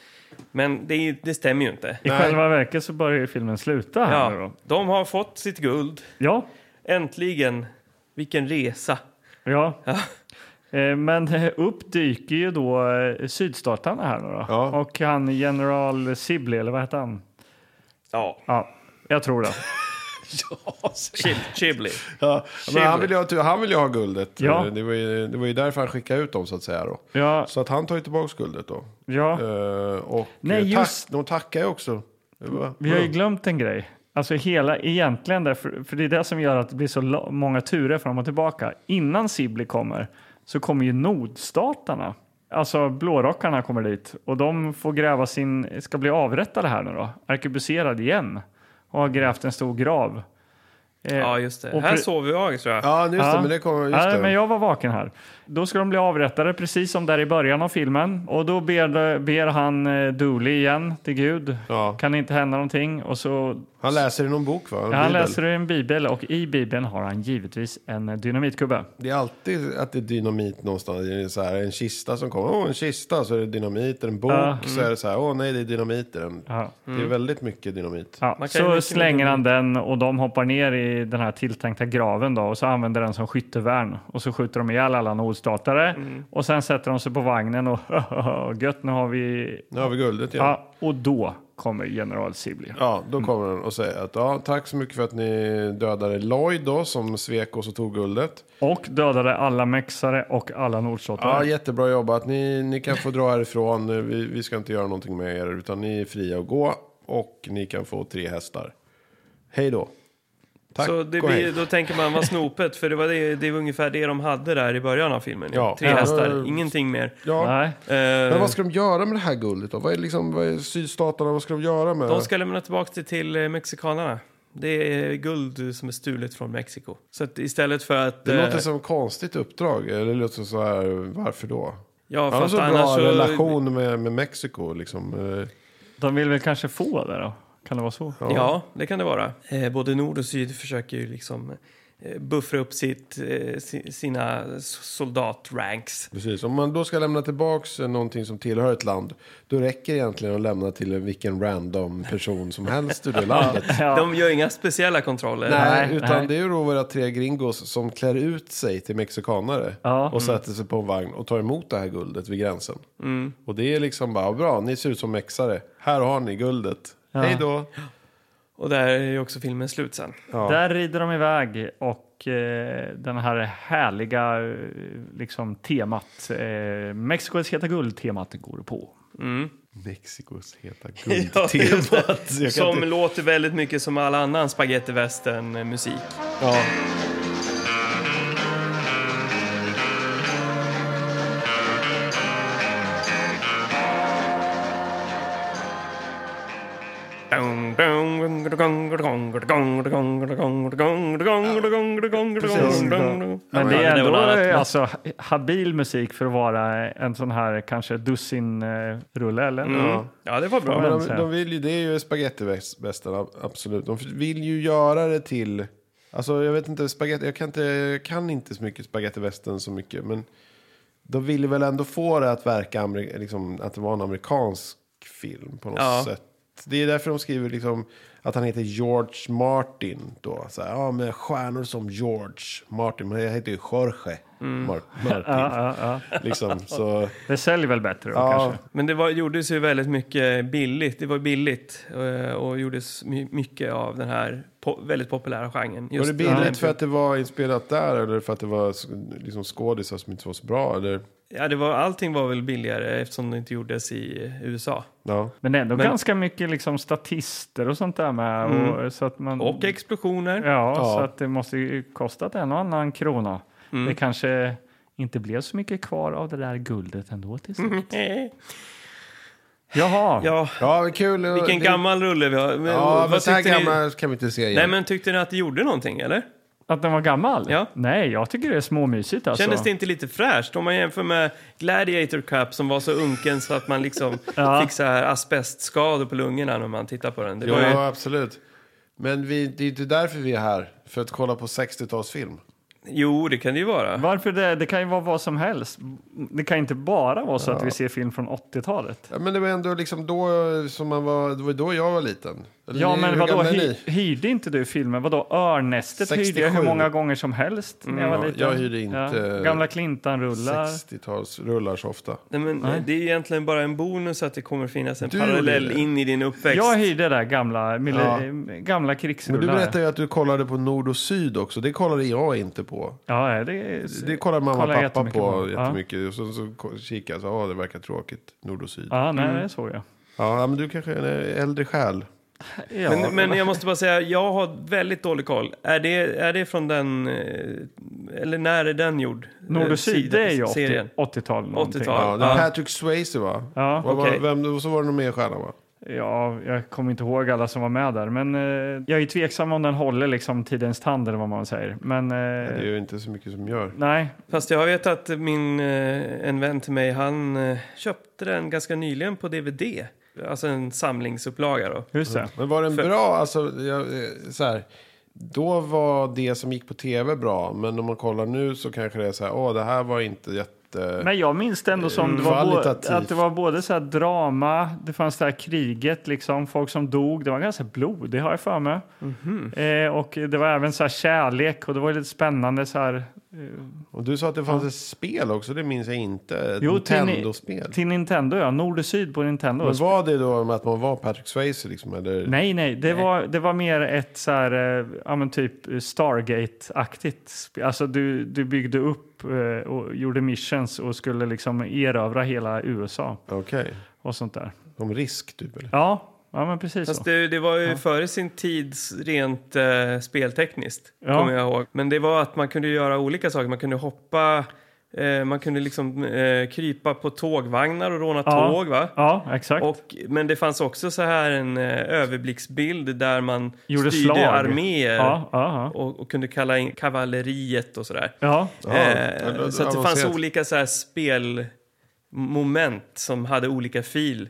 Speaker 2: Men det, är ju- det stämmer ju inte.
Speaker 3: I själva verket så börjar ju filmen sluta här nu
Speaker 2: Ja,
Speaker 3: då.
Speaker 2: de har fått sitt guld.
Speaker 3: Ja,
Speaker 2: Äntligen! Vilken resa.
Speaker 3: ja. Eh, Men [LAUGHS] eh, upp dyker ju då eh, sydstatarna här nu då.
Speaker 1: Ja.
Speaker 3: Och han general Sibley, eller vad heter han?
Speaker 2: Ja,
Speaker 3: Ja, jag tror det.
Speaker 2: Chib- Chibli.
Speaker 1: Ja, men han, vill ju ha, han vill ju ha guldet.
Speaker 3: Ja.
Speaker 1: Det, var ju, det var ju därför han skickade ut dem så att säga. Då.
Speaker 3: Ja,
Speaker 1: Så att han tar ju tillbaka guldet då.
Speaker 3: ja.
Speaker 1: Eh, och
Speaker 3: Nej,
Speaker 1: eh, tack-
Speaker 3: just-
Speaker 1: de tackar ju också.
Speaker 3: Vi har ju glömt en grej. Alltså hela egentligen, där, för, för det är det som gör att det blir så la- många turer fram och tillbaka. Innan Sibley kommer så kommer ju nordstatarna. Alltså blårockarna kommer dit och de får gräva sin, ska bli avrättade här nu då. Arkebuserad igen och har grävt en stor grav. Eh,
Speaker 2: Ja, just det.
Speaker 3: och
Speaker 2: Här
Speaker 3: pre-
Speaker 2: sover jag, tror jag.
Speaker 1: Ja, just det.
Speaker 3: Ja.
Speaker 1: Men det kommer... Just
Speaker 3: Nej,
Speaker 1: det.
Speaker 3: men jag var vaken här. Då ska de bli avrättade, precis som där i början av filmen. Och då ber, ber han eh, Dooley igen till Gud.
Speaker 1: Ja.
Speaker 3: Kan det inte hända någonting? Och så
Speaker 1: Han läser i någon bok va? En
Speaker 3: Ja, han
Speaker 1: bibel.
Speaker 3: läser ur en bibel och i bibeln har han givetvis en dynamitgubbe.
Speaker 1: Det är alltid att det är dynamit någonstans. Det är så här, en kista som kommer. Åh, en kista. Så är det dynamit. En bok.
Speaker 3: Ja.
Speaker 1: Så är det så här. Åh, nej, det är dynamit i den.
Speaker 3: Ja. Mm.
Speaker 1: Det är väldigt mycket dynamit.
Speaker 3: Ja,
Speaker 2: Man kan ju
Speaker 3: så
Speaker 2: mycket
Speaker 3: slänger
Speaker 2: mer-
Speaker 3: han den och de hoppar ner i den här tilltänkta graven då, och så använder den som skyttevärn. Och så skjuter de ihjäl alla nordstatare
Speaker 2: Mm.
Speaker 3: och sen sätter de sig på vagnen och [LAUGHS] gött nu har vi...
Speaker 1: Nu har vi guldet igen. Ja.
Speaker 3: Ja, och då kommer general Sibley.
Speaker 1: då kommer den och säger att ja, tack så mycket för att ni dödade Lloyd då som svek oss och tog guldet.
Speaker 3: Och dödade alla mexare och alla
Speaker 1: Ja,
Speaker 3: nordstatare.
Speaker 1: jättebra jobbat. Ni, ni kan få dra härifrån. Vi, vi ska inte göra någonting med er utan ni är fria att gå och ni kan få tre hästar. Hej då. Tack
Speaker 2: Så det
Speaker 1: och hej.
Speaker 2: blir, då tänker man, vad snopet, för det var, det, det var ungefär det de hade där i början av filmen.
Speaker 1: Ja.
Speaker 2: Tre
Speaker 1: Ja.
Speaker 2: hästar, ingenting mer.
Speaker 1: Ja.
Speaker 3: Nej.
Speaker 2: Eh,
Speaker 1: Men vad ska de göra med det här guldet då? Vad är, liksom, vad är sydstaterna, vad ska de göra med
Speaker 2: Eh, De
Speaker 1: det?
Speaker 2: ska lämna tillbaka det till eh, mexikanerna. Det är guld som är stulet från Mexiko. Så att istället för att...
Speaker 1: Det
Speaker 2: eh,
Speaker 1: låter som konstigt uppdrag, eller det låter som så här, varför då?
Speaker 2: ja,
Speaker 1: Han har
Speaker 2: fast
Speaker 1: så bra
Speaker 2: annars så...
Speaker 1: relation med, med Mexiko liksom. Eh,
Speaker 3: De vill väl kanske få det då? Kan det vara så?
Speaker 2: Ja, det kan det vara. Eh, både nord och syd försöker ju liksom eh, buffra upp sitt, eh, si- sina s- soldatranks.
Speaker 1: Precis, om man då ska lämna tillbaks eh, någonting som tillhör ett land, då räcker det egentligen att lämna till vilken random person som helst ur det landet.
Speaker 3: Ja.
Speaker 2: De gör inga speciella kontroller.
Speaker 1: Nej, utan
Speaker 3: nej.
Speaker 1: det är ju då våra tre gringos som klär ut sig till mexikanare
Speaker 3: Ja.
Speaker 1: och sätter sig på en vagn och tar emot det här guldet vid gränsen. Och det är liksom bara, bra, ni ser ut som mexare. Här har ni guldet. Hej då!
Speaker 2: Och där är ju också filmen slut sen.
Speaker 3: Där rider de iväg och eh, den här härliga eh, liksom, temat, eh, Mexikos heta guld-temat går på.
Speaker 1: Mexikos heta
Speaker 2: Ja, just det.
Speaker 1: guldtemat. Jag kan
Speaker 2: Som
Speaker 1: inte-
Speaker 2: låter väldigt mycket som all annan spaghetti western musik.
Speaker 1: ja.
Speaker 3: Men det är
Speaker 2: Det var
Speaker 3: ändå
Speaker 2: något annat.
Speaker 3: eh, alltså, habil musik för att vara en sån här kanske dussin-rulle eller?
Speaker 2: Mm. Ja, det var
Speaker 1: Ja,
Speaker 2: bra.
Speaker 1: men
Speaker 3: så
Speaker 1: de,
Speaker 3: här.
Speaker 1: de vill ju, det är ju spagettivästen, ab- absolut. De vill ju göra det till... Alltså jag vet inte, spaghetti, jag kan inte, jag kan inte så mycket spagettivästen så mycket. Men de ville väl ändå få det att verka, amer- liksom, att det var en amerikansk film på något
Speaker 2: Ja.
Speaker 1: sätt. Det är därför de skriver liksom att han heter George Martin. Då. Så här, ja, men stjärnor som George Martin, men jag heter ju Jorge Mar- Martin.
Speaker 3: Ja, ja.
Speaker 1: liksom, så,
Speaker 3: Det säljer väl bättre då
Speaker 1: ja,
Speaker 3: kanske?
Speaker 2: Men det var, gjordes ju väldigt mycket billigt. Det var billigt eh, och gjordes my- mycket av den här po väldigt populära genren.
Speaker 1: Var
Speaker 2: Just
Speaker 1: det billigt för att det var inspelat där eller för att det var liksom skådisar som inte var så bra? Eller?
Speaker 2: Ja, det var, allting var väl billigare eftersom det inte gjordes i eh, USA.
Speaker 1: Ja.
Speaker 3: Men det är ändå
Speaker 2: Men-
Speaker 3: ganska mycket liksom, statister och sånt där med. Och, så att man,
Speaker 1: Mm.
Speaker 2: Och explosioner.
Speaker 3: Ja,
Speaker 1: Ja.
Speaker 3: så att det måste ju kostat en och annan krona. Det kanske inte blev så mycket kvar av det där guldet ändå till slut. Jaha,
Speaker 2: [LAUGHS] Ja,
Speaker 1: ja, men kul.
Speaker 2: vilken
Speaker 1: Det-
Speaker 2: gammal rulle vi har. Men,
Speaker 1: Ja, men
Speaker 2: vad
Speaker 1: så här
Speaker 2: tyckte ni-
Speaker 1: gammal Alltså- kan vi inte se igen.
Speaker 2: Nej, men tyckte ni att det gjorde någonting, eller?
Speaker 3: att den var gammal?
Speaker 2: Ja.
Speaker 3: Nej, jag tycker det är småmysigt alltså.
Speaker 2: Kändes det inte lite fräscht om man jämför med Gladiator Cup som var så unken så att
Speaker 1: [LAUGHS]
Speaker 2: man liksom
Speaker 3: Ja.
Speaker 2: fick så här asbestskador på lungorna när man tittar på den? Det
Speaker 1: Ja,
Speaker 2: var ju,
Speaker 1: absolut. Men vi, det är inte därför vi är här. För att kolla på 60-talsfilm.
Speaker 2: jo, det kan det ju vara.
Speaker 3: Varför det? Det kan ju vara vad som helst. Det kan inte bara vara så att vi ser film från 80-talet.
Speaker 1: Ja, men det var ändå liksom då som man var, det var då jag var liten. Eller
Speaker 3: Ja,
Speaker 1: ni-
Speaker 3: men
Speaker 1: hur
Speaker 3: vadå,
Speaker 1: gamla är
Speaker 3: hy,
Speaker 1: ni?
Speaker 3: hyrde inte du filmen? Vadå, Örnästet hyrde jag hur
Speaker 1: 67.
Speaker 3: många gånger som helst när jag var
Speaker 2: Mm,
Speaker 1: Ja,
Speaker 3: liten.
Speaker 1: jag hyrde inte
Speaker 2: eh,
Speaker 3: Gamla Clintan-rullar.
Speaker 1: 60-talsrullar så ofta.
Speaker 2: Nej, men Det är ju egentligen bara en bonus att det kommer finnas en
Speaker 1: Du
Speaker 2: parallell
Speaker 1: gjorde det.
Speaker 2: in i din uppväxt.
Speaker 3: Jag hyrde där gamla,
Speaker 1: Ja.
Speaker 3: mille,
Speaker 1: Men
Speaker 3: gamla
Speaker 1: du
Speaker 3: krigsrullar.
Speaker 1: berättade ju att du kollade på Nord och Syd också. Det kollade jag inte på.
Speaker 3: Ja, det är...
Speaker 1: Det kollar mamma
Speaker 3: Kollar
Speaker 1: och pappa
Speaker 3: jättemycket
Speaker 1: på
Speaker 3: på. Ja.
Speaker 1: jättemycket. Och så, så ko- kikar jag så, ja det verkar tråkigt. Nord och syd. Ja,
Speaker 3: Ja, nej,
Speaker 2: Mm.
Speaker 3: det såg jag.
Speaker 1: men du kanske är en äldre själ.
Speaker 3: Ja,
Speaker 2: Men, men jag måste bara säga, jag har väldigt dålig koll. Är det, är det från den... eh, Eller när är den gjord?
Speaker 3: Nord
Speaker 2: Eh,
Speaker 3: och syd,
Speaker 2: sida-
Speaker 3: det är ju
Speaker 2: serien.
Speaker 3: 80, 80-tal. någonting.
Speaker 2: 80-tal.
Speaker 1: Ja, det är
Speaker 2: Ja.
Speaker 1: Patrick Swayze va?
Speaker 3: Ja,
Speaker 1: Vad var,
Speaker 2: okej.
Speaker 1: vem, och så var det någon mer stjärna va?
Speaker 3: Ja, jag kommer inte ihåg alla som var med där. Men eh, jag är ju tveksam om den håller liksom tidens tand eller vad man säger. Men eh,
Speaker 1: Det är ju inte så mycket som gör.
Speaker 3: nej,
Speaker 2: Fast jag vet att min, eh, en vän till mig, han eh, köpte den ganska nyligen på DVD. Alltså en samlingsupplaga då.
Speaker 3: Just det.
Speaker 1: Men var den
Speaker 2: För-
Speaker 1: bra? Alltså, jag, eh, så här, då var det som gick på tv bra, men om man kollar nu så kanske det är så här, åh, det här var inte jätte...
Speaker 3: Men jag minns det ändå som det var
Speaker 1: Kvalitativt.
Speaker 3: både, att det var både så här drama, det fanns det här kriget, liksom, folk som dog. Det var ganska blodigt har jag för mig.
Speaker 1: Mhm.
Speaker 3: Eh, och det var även så här kärlek och det var lite spännande. Så här,
Speaker 1: Och du sa att det fanns ett spel också, det minns jag inte. Ett
Speaker 3: Jo, till ni-
Speaker 1: Nintendo-spel.
Speaker 3: till Nintendo, ja. Nord och syd på Nintendo.
Speaker 1: Men var det då med att man var Patrick Swayze liksom? Eller?
Speaker 2: typ.
Speaker 3: Nej, nej, det, Var, det var mer ett så här, eh, ja, men typ Stargate-aktigt. sp- Alltså du, du byggde upp eh, och gjorde missions och skulle liksom erövra hela USA
Speaker 1: Okej.
Speaker 3: och sånt där.
Speaker 1: Om risk typ eller?
Speaker 3: Ja, ja men precis så.
Speaker 2: Fast det, det var ju före sin tid rent eh, speltekniskt,
Speaker 3: Ja.
Speaker 2: kommer jag ihåg. Men det var att man kunde göra olika saker. Man kunde hoppa, eh, man kunde liksom eh, krypa på tågvagnar och råna
Speaker 3: Ja.
Speaker 2: tåg va?
Speaker 3: Ja, exakt.
Speaker 2: Och, men det fanns också så här en eh, överblicksbild där man
Speaker 3: Gjorde
Speaker 2: styrde
Speaker 3: slag.
Speaker 2: arméer
Speaker 3: ja, ja, ja.
Speaker 2: och, och kunde kalla in kavalleriet och sådär.
Speaker 3: ja.
Speaker 1: det
Speaker 2: Eh,
Speaker 1: låter
Speaker 2: så att det fanns
Speaker 1: avancerat.
Speaker 2: olika så här spelmoment som hade olika fil.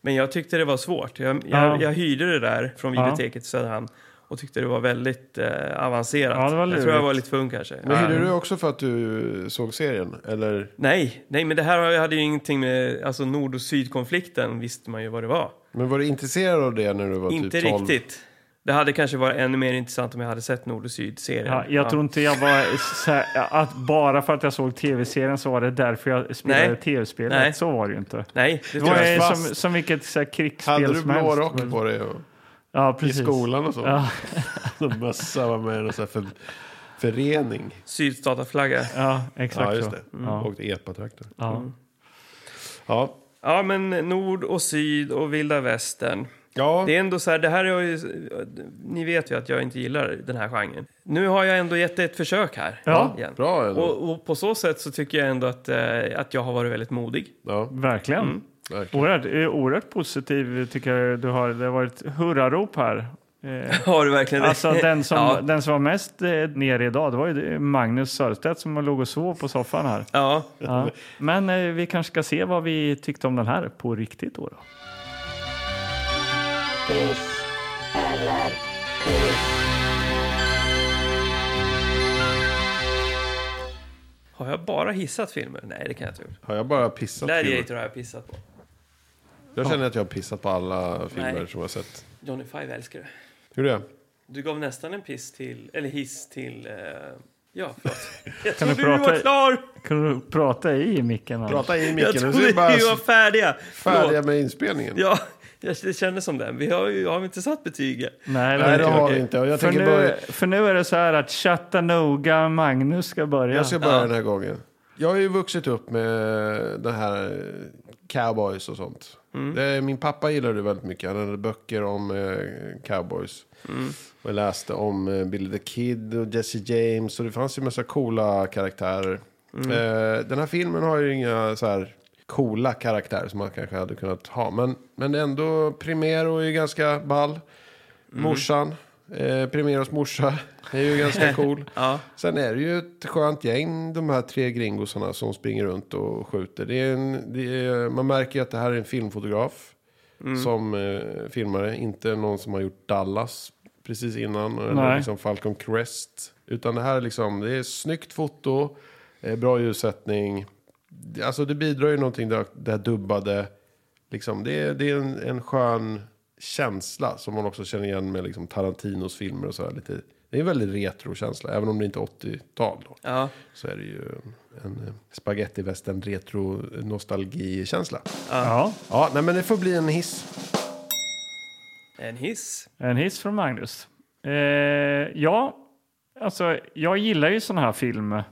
Speaker 2: Men jag tyckte det var svårt. Jag,
Speaker 3: Ja.
Speaker 2: jag, jag hyrde det där från
Speaker 3: Ja.
Speaker 2: biblioteket i Söderhamn och tyckte det var väldigt eh, avancerat.
Speaker 3: Ja, det var
Speaker 2: jag tror jag
Speaker 3: lurigt.
Speaker 2: var lite för ung kanske.
Speaker 1: Men
Speaker 2: Ja.
Speaker 1: hyrde du också för att du såg serien? Eller?
Speaker 2: Nej, nej, men det här har- hade ju ingenting med alltså, nord och sydkonflikten visste man ju vad det var.
Speaker 1: Men var du intresserad av det när du var
Speaker 2: Inte
Speaker 1: typ 12?
Speaker 2: riktigt. Det hade kanske varit ännu mer intressant om jag hade sett Nord och Syd-serien.
Speaker 3: Ja, jag tror inte jag var så här, eh, att bara för att jag såg tv-serien så var det därför jag spelade
Speaker 2: Nej.
Speaker 3: tv-spelet.
Speaker 2: Nej.
Speaker 3: Så var det ju inte.
Speaker 2: Nej, det
Speaker 3: Det
Speaker 2: tror jag
Speaker 3: var ju
Speaker 2: inte.
Speaker 3: som,
Speaker 1: fast-
Speaker 3: som vilket så här, krigsspel
Speaker 1: Hade du
Speaker 3: som
Speaker 1: blå
Speaker 3: helst.
Speaker 1: rock på dig och,
Speaker 3: Ja,
Speaker 1: i
Speaker 3: precis.
Speaker 1: skolan och så?
Speaker 3: Ja.
Speaker 1: Och mössa var med i [LAUGHS] någon sån här för, förening.
Speaker 2: Sydstataflagga.
Speaker 3: Ja, exakt
Speaker 1: Ja, just
Speaker 3: så. Mm.
Speaker 1: det. Och epatraktor.
Speaker 3: Ja.
Speaker 2: Mm.
Speaker 1: Ja.
Speaker 2: Ja, men Nord och Syd och vilda västern.
Speaker 1: ja.
Speaker 2: Det är ändå så här, det här är ju, ni vet ju att jag inte gillar den här genren. Nu har jag ändå gett det ett försök här.
Speaker 3: Ja,
Speaker 2: igen.
Speaker 1: Bra ändå.
Speaker 2: Och, och på så sätt så tycker jag ändå att, eh, att jag har varit väldigt modig. [LAUGHS]
Speaker 1: ja.
Speaker 3: Verkligen.
Speaker 1: Mm. verkligen.
Speaker 3: Oerhört, eh, oerhört positiv tycker jag du har. Det har varit hurrarop här. Eh,
Speaker 2: Har du verkligen
Speaker 1: [LAUGHS]
Speaker 2: det?
Speaker 3: Alltså den som,
Speaker 2: ja,
Speaker 3: den som var mest eh, nere idag, det var ju Magnus Sörstedt som låg och sov på soffan här.
Speaker 2: ja,
Speaker 3: Ja. Men eh, vi kanske ska se vad vi tyckte om den här på riktigt då. då.
Speaker 2: har jag bara hissat filmer? Nej, det kan jag inte ha gjort.
Speaker 1: Har jag bara pissat? filmer?
Speaker 2: Gladiator har jag pissat på.
Speaker 1: Jag känner att jag har pissat på alla filmer
Speaker 2: Nej.
Speaker 1: som jag har sett.
Speaker 2: Johnny Five älskar det.
Speaker 1: Gjorde jag?
Speaker 2: Du gav nästan en piss till, eller hiss till, eh, ja
Speaker 3: [LAUGHS]
Speaker 2: förlåt. Jag
Speaker 3: Kan du
Speaker 2: trodde du var
Speaker 3: prata-
Speaker 2: klar!
Speaker 3: Kan du prata i micken? Anders?
Speaker 1: Prata i
Speaker 2: Jag
Speaker 1: micken. Nu
Speaker 2: trodde
Speaker 1: så är
Speaker 2: vi
Speaker 1: vi bara
Speaker 2: var färdiga.
Speaker 1: färdiga
Speaker 2: Förlåt.
Speaker 1: med inspelningen.
Speaker 2: Ja, jag- det kändes som den. Vi har ju har vi inte satt betyg.
Speaker 3: Nej,
Speaker 1: Nej, det
Speaker 3: det-
Speaker 1: har
Speaker 2: okej.
Speaker 1: vi inte. Och Jag
Speaker 3: för,
Speaker 1: tänker
Speaker 3: nu,
Speaker 1: börja...
Speaker 3: för nu är det så här att Chattanooga Magnus ska börja.
Speaker 1: Jag ska börja den här gången. Jag har ju vuxit upp med den här eh, cowboys och sånt. Det, min pappa gillade det väldigt mycket. Han hade böcker om eh, cowboys. Och jag läste om eh, Billy the Kid och Jesse James. Och det fanns ju massa coola karaktärer. Eh, den här filmen har ju inga så här coola karaktärer som man kanske hade kunnat ha. Men, men ändå, Primero är ju ganska ball. Morsan, eh, Primeros morsa, är ju ganska cool.
Speaker 2: [LAUGHS] Ja.
Speaker 1: Sen är det ju ett skönt gäng, de här tre gringosarna som springer runt och skjuter. Det är en, det är, man märker ju att det här är en filmfotograf som eh, filmare, inte någon som har gjort Dallas precis innan. Eller
Speaker 3: Nej.
Speaker 1: liksom Falcon Crest. Utan det här är liksom, det är snyggt foto, eh, bra ljussättning. Det- Alltså det bidrar ju någonting, det här, det här dubbade. Liksom, det, är, det är en, en skön känsla som man också känner igen med liksom Tarantinos filmer och sådär. Lite, det är en väldigt retro känsla, även om det inte är 80-tal då.
Speaker 2: Ja,
Speaker 1: Så är det ju en, en spaghetti western retro nostalgi känsla.
Speaker 3: Ja,
Speaker 1: Ja, nej men det får bli en hiss.
Speaker 2: en hiss.
Speaker 3: en hiss från Magnus. Eh, ja, alltså jag gillar ju sån här film.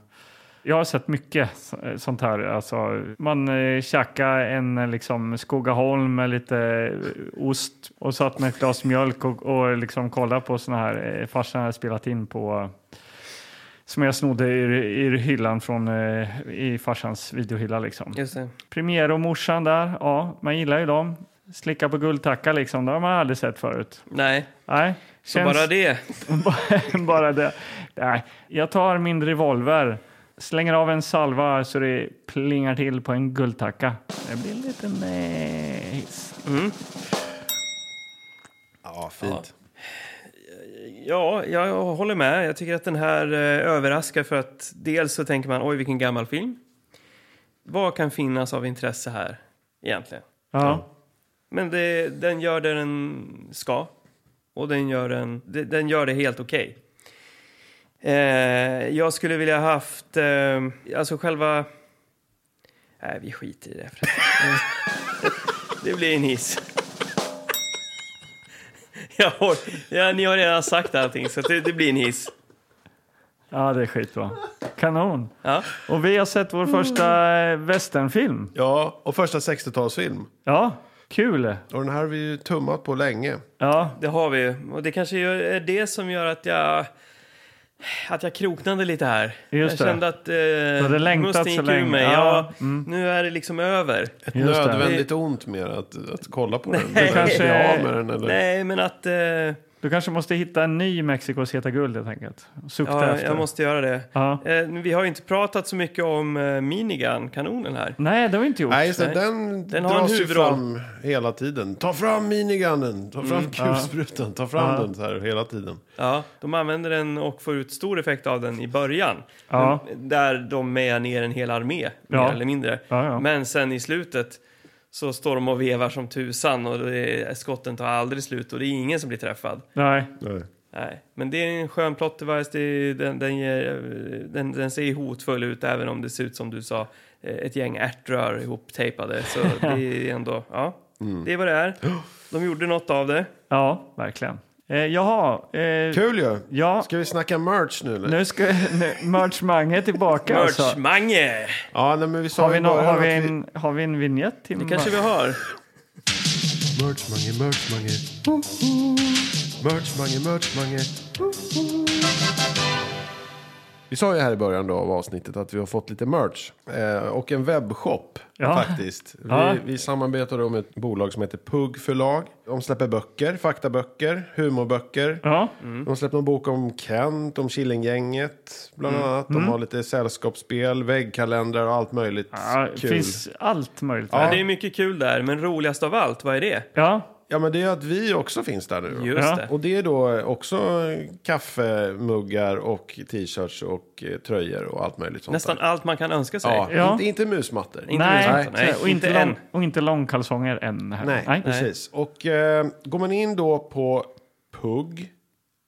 Speaker 3: Jag har sett mycket så- sånt här. Alltså, man eh, tjackar en eh, liksom, Skogaholm med lite eh, ost och satt med ett glas mjölk och, och liksom kollade på såna här. eh, Farsan hade spelat in på som jag snodde ur, ur hyllan från eh, i farsans videohylla. Liksom.
Speaker 2: Just det.
Speaker 3: Premier och morsan där, ja, man gillar ju dem. Slicka på guldtacka liksom, det har man aldrig sett förut.
Speaker 2: Nej,
Speaker 3: Nej,
Speaker 2: så bara det.
Speaker 3: [LAUGHS] bara det. Nej, jag tar min revolver, slänger av en salva så det plingar till på en guldtacka. Det blir lite nice.
Speaker 1: Ja, fint.
Speaker 2: Ja, jag håller med. Jag tycker att den här eh, överraskar för att dels så tänker man oj vilken gammal film. Vad kan finnas av intresse här egentligen?
Speaker 3: Ja.
Speaker 2: Men det, den gör det den ska. Och den gör, den, de- den gör det helt okej. Eh, jag skulle vilja haft, eh, alltså själva... Nej, vi skiter i det. [LAUGHS] det blir en hiss. [LAUGHS] Jag har, ja, ni har redan sagt allting, så det, det blir en hiss.
Speaker 3: ja, det är skitbra. Kanon.
Speaker 2: Ja.
Speaker 3: Och vi har sett vår första eh, westernfilm.
Speaker 1: Ja, och första 60-talsfilm.
Speaker 3: Ja, kul.
Speaker 1: Och den här har vi ju tummat på länge.
Speaker 3: Ja,
Speaker 2: Det har vi ju. Och det kanske gör- är det som gör att jag, att jag kroknade lite här.
Speaker 3: Just
Speaker 2: jag
Speaker 3: det.
Speaker 2: kände att
Speaker 3: hade
Speaker 2: eh,
Speaker 3: längtat
Speaker 2: musten
Speaker 3: så
Speaker 2: gick ur
Speaker 3: länge.
Speaker 2: mig. Ja,
Speaker 3: Ja, Mm.
Speaker 2: Nu är det liksom över.
Speaker 1: Ett
Speaker 3: Just det.
Speaker 1: nödvändigt ont mer att, att kolla
Speaker 3: [LAUGHS]
Speaker 1: på den.
Speaker 2: Nej.
Speaker 1: Eller att
Speaker 3: Kanske-
Speaker 1: bli av med den eller...
Speaker 2: Nej, men att... Eh, ja,
Speaker 3: du kanske måste hitta en ny Mexikos heta guld helt enkelt. Sukta efter.
Speaker 2: jag måste göra det.
Speaker 3: Ja.
Speaker 2: Eh, vi har ju inte pratat så mycket om eh, minigun-kanonen här.
Speaker 3: Nej, det har vi inte gjort.
Speaker 1: Nej, just det,
Speaker 2: Nej.
Speaker 1: den,
Speaker 2: Den har en
Speaker 1: dras ju
Speaker 2: huvudroll.
Speaker 1: fram hela tiden. Ta fram minigunnen, ta fram kulsprutan, ta fram
Speaker 3: Mm, Ja.
Speaker 1: den så här hela tiden.
Speaker 2: Ja, de använder den och får ut stor effekt av den i början.
Speaker 3: Ja.
Speaker 2: Men, där de mejar ner en hel armé,
Speaker 3: Ja.
Speaker 2: mer eller mindre.
Speaker 3: Ja, ja.
Speaker 2: Men sen i slutet så står de och vevar som tusan och det är, skotten tar aldrig slut och det är ingen som blir träffad.
Speaker 3: Nej.
Speaker 2: Nej, men det är en skön plot device. Det är, den, den, ger, den, den ser hotfull ut även om det ser ut som du sa, eh, ett gäng ärtrör ihoptejpade.
Speaker 3: [LAUGHS]
Speaker 2: Så det är ändå, ja, det är vad det är. De gjorde något av det.
Speaker 3: Ja, verkligen. Eh, jaha. Eh,
Speaker 1: Kul ju!
Speaker 3: Ja,
Speaker 1: Ska vi snacka merch nu eller?
Speaker 3: nu ska nu, merchmange är tillbaka alltså.
Speaker 2: Merch-mange!
Speaker 1: Ja, nej, men vi sa
Speaker 3: Har vi,
Speaker 1: i
Speaker 3: nå-
Speaker 1: början
Speaker 3: har, vi
Speaker 1: att vi-
Speaker 3: en, har vi en vignett till
Speaker 2: Det kanske vi har.
Speaker 1: Merchmange, merchmange. Ho, ho. Merchmange, merchmange. Ho, ho. Vi sa ju här i början då av avsnittet att vi har fått lite merch. Eh, och en webbshop
Speaker 3: Ja.
Speaker 1: faktiskt. Vi,
Speaker 3: Ja.
Speaker 1: vi samarbetar då med ett bolag som heter Pugg förlag. De släpper böcker, faktaböcker, humorböcker.
Speaker 3: Ja,
Speaker 2: Mm.
Speaker 1: De släppte en bok om Kent, om Killinggänget bland
Speaker 3: Mm.
Speaker 1: annat. De har lite sällskapsspel, väggkalendrar och allt möjligt
Speaker 3: ja
Speaker 1: kul.
Speaker 3: finns allt möjligt.
Speaker 2: Ja.
Speaker 3: Ja,
Speaker 2: Det är mycket kul där, men roligast av allt, vad är det?
Speaker 3: ja,
Speaker 1: Ja, men det är att vi också finns där nu. då.
Speaker 2: Just
Speaker 3: Ja.
Speaker 2: det.
Speaker 1: Och det är då också kaffemuggar och t-shirts och eh, tröjor och allt möjligt sånt
Speaker 2: Nästan
Speaker 1: där.
Speaker 2: allt man kan önska sig.
Speaker 1: Ja,
Speaker 3: Ja.
Speaker 1: Inte, inte musmattor.
Speaker 2: Inte
Speaker 3: nej,
Speaker 2: musmattor, nej.
Speaker 3: och inte,
Speaker 2: Inte
Speaker 3: lång,
Speaker 2: än.
Speaker 3: och inte långkalsonger än. Här.
Speaker 1: Nej, precis. Och eh, går man in då på pug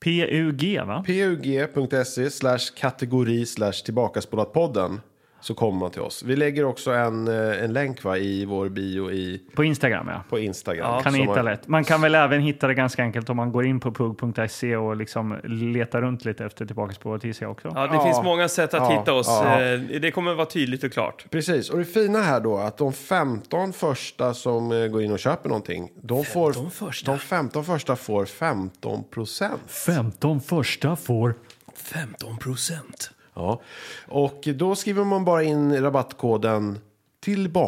Speaker 3: PUG va?
Speaker 1: pug.se E slash kategori slash tillbakaspolat podden så kommer man till oss. Vi lägger också en, eh, en länk va, i vår bio i,
Speaker 3: På Instagram ja.
Speaker 1: på Instagram.
Speaker 2: Ja.
Speaker 3: Kan ni
Speaker 1: Så
Speaker 3: hitta
Speaker 1: man-
Speaker 3: lätt. Man kan väl även hitta det ganska enkelt om man går in på pug.se och liksom letar runt lite efter tillbaka på TC också.
Speaker 2: Ja, det
Speaker 1: Ja.
Speaker 2: finns många sätt att
Speaker 1: Ja.
Speaker 2: hitta oss.
Speaker 1: Ja.
Speaker 2: Eh, Det kommer vara tydligt och klart.
Speaker 1: Precis, och det fina här då att de 15 första som eh, går in och köper någonting, de, får,
Speaker 2: första?
Speaker 1: de 15 första får 15 procent.
Speaker 3: 15 första får.
Speaker 2: 15 procent.
Speaker 1: Ja. Och då skriver man bara in rabattkoden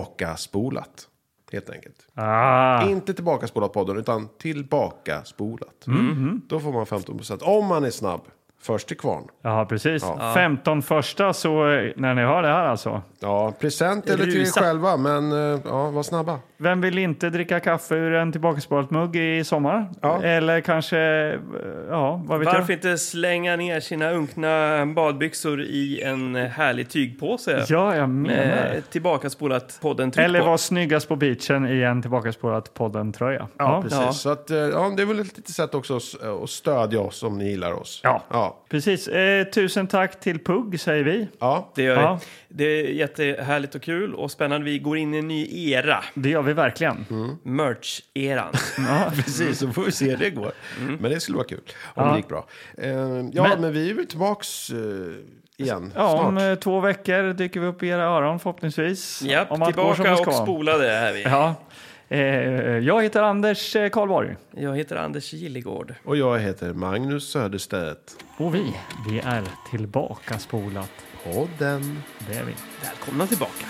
Speaker 1: tillbakaspolat, helt enkelt.
Speaker 3: Ah,
Speaker 1: Inte tillbakaspolat podden, utan tillbakaspolat.
Speaker 3: Mm-hmm.
Speaker 1: Då får man 15 procent, om man är snabb. Först till kvarn.
Speaker 3: ja, precis. 15 första så eh, när ni hör det här alltså.
Speaker 1: Ja, present eller till er
Speaker 2: Rusa.
Speaker 1: själva, men eh, ja, var snabba.
Speaker 3: Vem vill inte dricka kaffe ur en tillbakaspolat mugg i sommar?
Speaker 1: Ja.
Speaker 3: Eller kanske, eh, ja, vad vet
Speaker 2: Varför inte slänga ner sina unkna badbyxor i en härlig tygpåse?
Speaker 3: jag? Ja, jag menar.
Speaker 2: Eh, tillbaka spolat podden tryck
Speaker 3: Eller
Speaker 2: på.
Speaker 3: vara snyggast på beachen i en tillbakaspolat podden-tröja.
Speaker 1: Ja, precis.
Speaker 2: Ja.
Speaker 1: Så att, eh, ja, det är väl ett litet sätt också att s- att stödja oss om ni gillar oss.
Speaker 3: Ja.
Speaker 1: Ja.
Speaker 3: precis. Eh, tusen tack till Pugg säger vi.
Speaker 1: ja.
Speaker 2: Det, gör vi.
Speaker 3: Ja.
Speaker 2: det är jättehärligt och kul och spännande. Vi går in i en ny era.
Speaker 3: Det gör vi verkligen.
Speaker 1: Mm.
Speaker 3: [LAUGHS]
Speaker 2: Merch-eran.
Speaker 1: Precis, så får vi se hur det går. Men det skulle vara kul om det gick bra. Eh, ja, men,
Speaker 3: Men-
Speaker 1: vi är väl tillbaks eh, igen
Speaker 3: Ja, om
Speaker 1: snart.
Speaker 3: eh, två veckor dyker vi upp i era öron förhoppningsvis.
Speaker 2: Japp,
Speaker 3: om allt går som
Speaker 2: tillbaka
Speaker 3: det
Speaker 2: och
Speaker 3: ska.
Speaker 2: spolade är vi.
Speaker 3: Ja. Eh, jag heter Anders eh, Karlborg.
Speaker 2: Jag heter Anders Gilligård.
Speaker 1: Och jag heter Magnus Söderstedt.
Speaker 3: Och vi, vi är tillbaka spolat.
Speaker 1: Podden.
Speaker 3: Det är vi.
Speaker 2: Välkomna tillbaka.